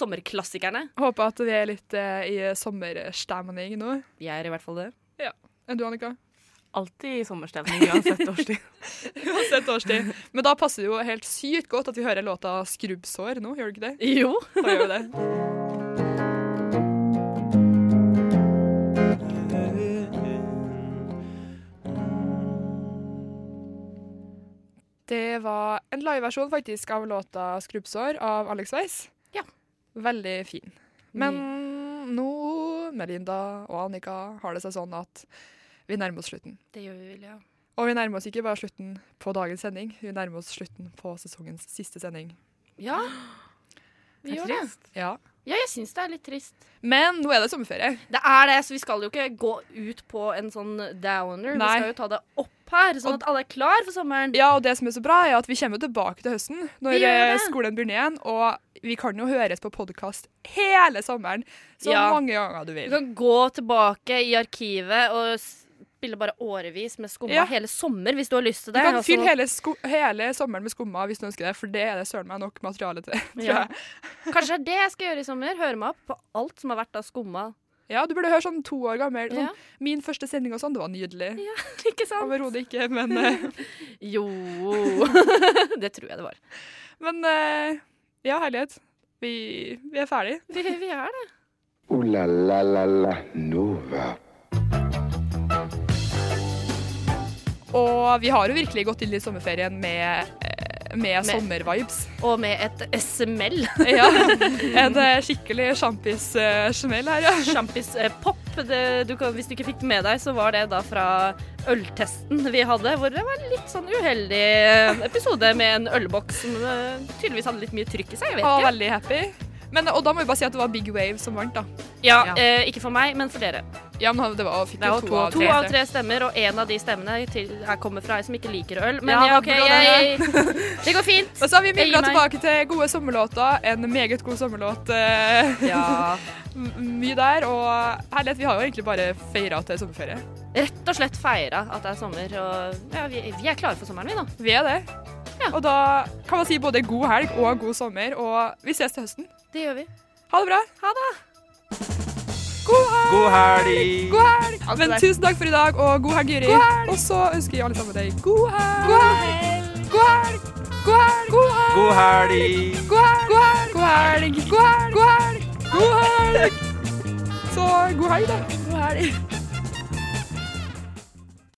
[SPEAKER 4] sommerklassikerne.
[SPEAKER 3] Håper at vi er litt eh, i sommerstemning nå.
[SPEAKER 4] Vi er i hvert fall det.
[SPEAKER 3] Enn du, Annika?
[SPEAKER 5] Alltid i sommerstemning uansett årstid.
[SPEAKER 3] Uansett årstid. Men da passer det jo helt sykt godt at vi hører låta 'Skrubbsår' nå, gjør det ikke det?
[SPEAKER 4] Jo.
[SPEAKER 3] Da gjør vi det. Det var en liveversjon faktisk av låta 'Skrubbsår' av Alex Weiss.
[SPEAKER 4] Ja.
[SPEAKER 3] Veldig fin. Men nå, Melinda og Annika, har det seg sånn at vi nærmer oss slutten.
[SPEAKER 4] Det gjør vi, William.
[SPEAKER 3] Og vi nærmer oss ikke bare slutten på dagens sending, vi nærmer oss slutten på sesongens siste sending.
[SPEAKER 4] Ja. Vi
[SPEAKER 5] Det er
[SPEAKER 4] gjør det.
[SPEAKER 5] trist.
[SPEAKER 3] Ja.
[SPEAKER 4] Ja, jeg syns det er litt trist.
[SPEAKER 3] Men nå er det sommerferie.
[SPEAKER 4] Det er det, så vi skal jo ikke gå ut på en sånn downer.
[SPEAKER 3] Nei.
[SPEAKER 4] Vi skal jo ta det opp her, sånn
[SPEAKER 3] Og-
[SPEAKER 4] at alle er klar for sommeren.
[SPEAKER 3] Ja, og det som er så bra, er at vi kommer jo tilbake til høsten når
[SPEAKER 4] Vi gjør det.
[SPEAKER 3] eh, skolen begynner igjen. Og vi kan jo høres på podkast hele sommeren, så
[SPEAKER 4] Ja. Sånn,
[SPEAKER 3] mange ganger du
[SPEAKER 4] Du
[SPEAKER 3] vil.
[SPEAKER 4] kan gå tilbake i arkivet og spille bare årevis med skumma
[SPEAKER 3] Ja.
[SPEAKER 4] hele sommer hvis du har lyst til
[SPEAKER 3] Du
[SPEAKER 4] det.
[SPEAKER 3] kan
[SPEAKER 4] Altså,
[SPEAKER 3] fylle hele, sko hele sommeren med skumma hvis du ønsker det, for det er det søren meg nok materiale til. tror
[SPEAKER 4] ja. Kanskje det er det jeg skal gjøre i sommer. Høre meg opp på alt som har vært av skumma
[SPEAKER 3] Ja, du burde høre sånn to år gammel. Sånn,
[SPEAKER 4] Ja.
[SPEAKER 3] Min første sending og sånn, det var nydelig.
[SPEAKER 4] Ikke sant?
[SPEAKER 3] Overhodet ikke, men, eh,
[SPEAKER 4] Jo Det tror jeg det var.
[SPEAKER 3] men eh, ja, herlighet. Vi, vi er ferdig.
[SPEAKER 4] Vi, vi er det.
[SPEAKER 2] Ooh la la la la Nova.
[SPEAKER 3] Og vi har jo virkelig gått inn i sommerferien med, eh, med sommervibes.
[SPEAKER 4] Og med et smell.
[SPEAKER 3] Ja, en eh, skikkelig sjampis-smell her, ja.
[SPEAKER 4] Sjampis eh, pop. Det, du kan, hvis du ikke fikk det med deg, så var det da fra øltesten vi hadde, hvor det var en litt sånn uheldig eh, episode med en ølboks som eh, tydeligvis hadde litt mye trykk i seg. Jeg vet
[SPEAKER 3] Og
[SPEAKER 4] ikke.
[SPEAKER 3] veldig happy. Men, og da må vi bare si at det var Big Wave som vant, da.
[SPEAKER 4] Ja,
[SPEAKER 5] Ja.
[SPEAKER 4] eh, ikke for meg, men for dere.
[SPEAKER 3] Ja, men han- det var, fikk
[SPEAKER 5] Det
[SPEAKER 3] jo
[SPEAKER 5] var
[SPEAKER 3] to,
[SPEAKER 5] to
[SPEAKER 3] av
[SPEAKER 4] To
[SPEAKER 3] tre.
[SPEAKER 4] av tre stemmer, og en av de stemmene til, her kommer fra ei som ikke liker øl. Men ja,
[SPEAKER 5] Ja,
[SPEAKER 4] OK,
[SPEAKER 5] det var bra,
[SPEAKER 4] jeg, det går fint.
[SPEAKER 3] Og så har vi
[SPEAKER 4] Jeg gir
[SPEAKER 3] mimla
[SPEAKER 4] meg.
[SPEAKER 3] tilbake til gode sommerlåter. En meget god sommerlåt. eh,
[SPEAKER 4] Ja.
[SPEAKER 3] m- Mye der. Og herlighet, vi har jo egentlig bare feira til sommerferie.
[SPEAKER 4] Rett og slett feira at det er sommer, og ja, vi, vi er klare for sommeren, vi nå.
[SPEAKER 3] Vi er det.
[SPEAKER 4] Ja.
[SPEAKER 3] Og da kan man si både god helg og god sommer, og vi ses til høsten.
[SPEAKER 4] Det gjør vi.
[SPEAKER 3] Ha det bra. Ha det. God helg.
[SPEAKER 10] God helg!
[SPEAKER 3] God helg.
[SPEAKER 4] Alt det
[SPEAKER 3] Men
[SPEAKER 4] der.
[SPEAKER 3] tusen takk for i dag, og god helg, Jyri. Og så ønsker vi alle sammen deg god helg. God helg. God helg. God helg. God helg.
[SPEAKER 10] God helg!
[SPEAKER 3] God helg, god helg, god helg, god helg, god helg, god helg. Så god helg, da. God helg.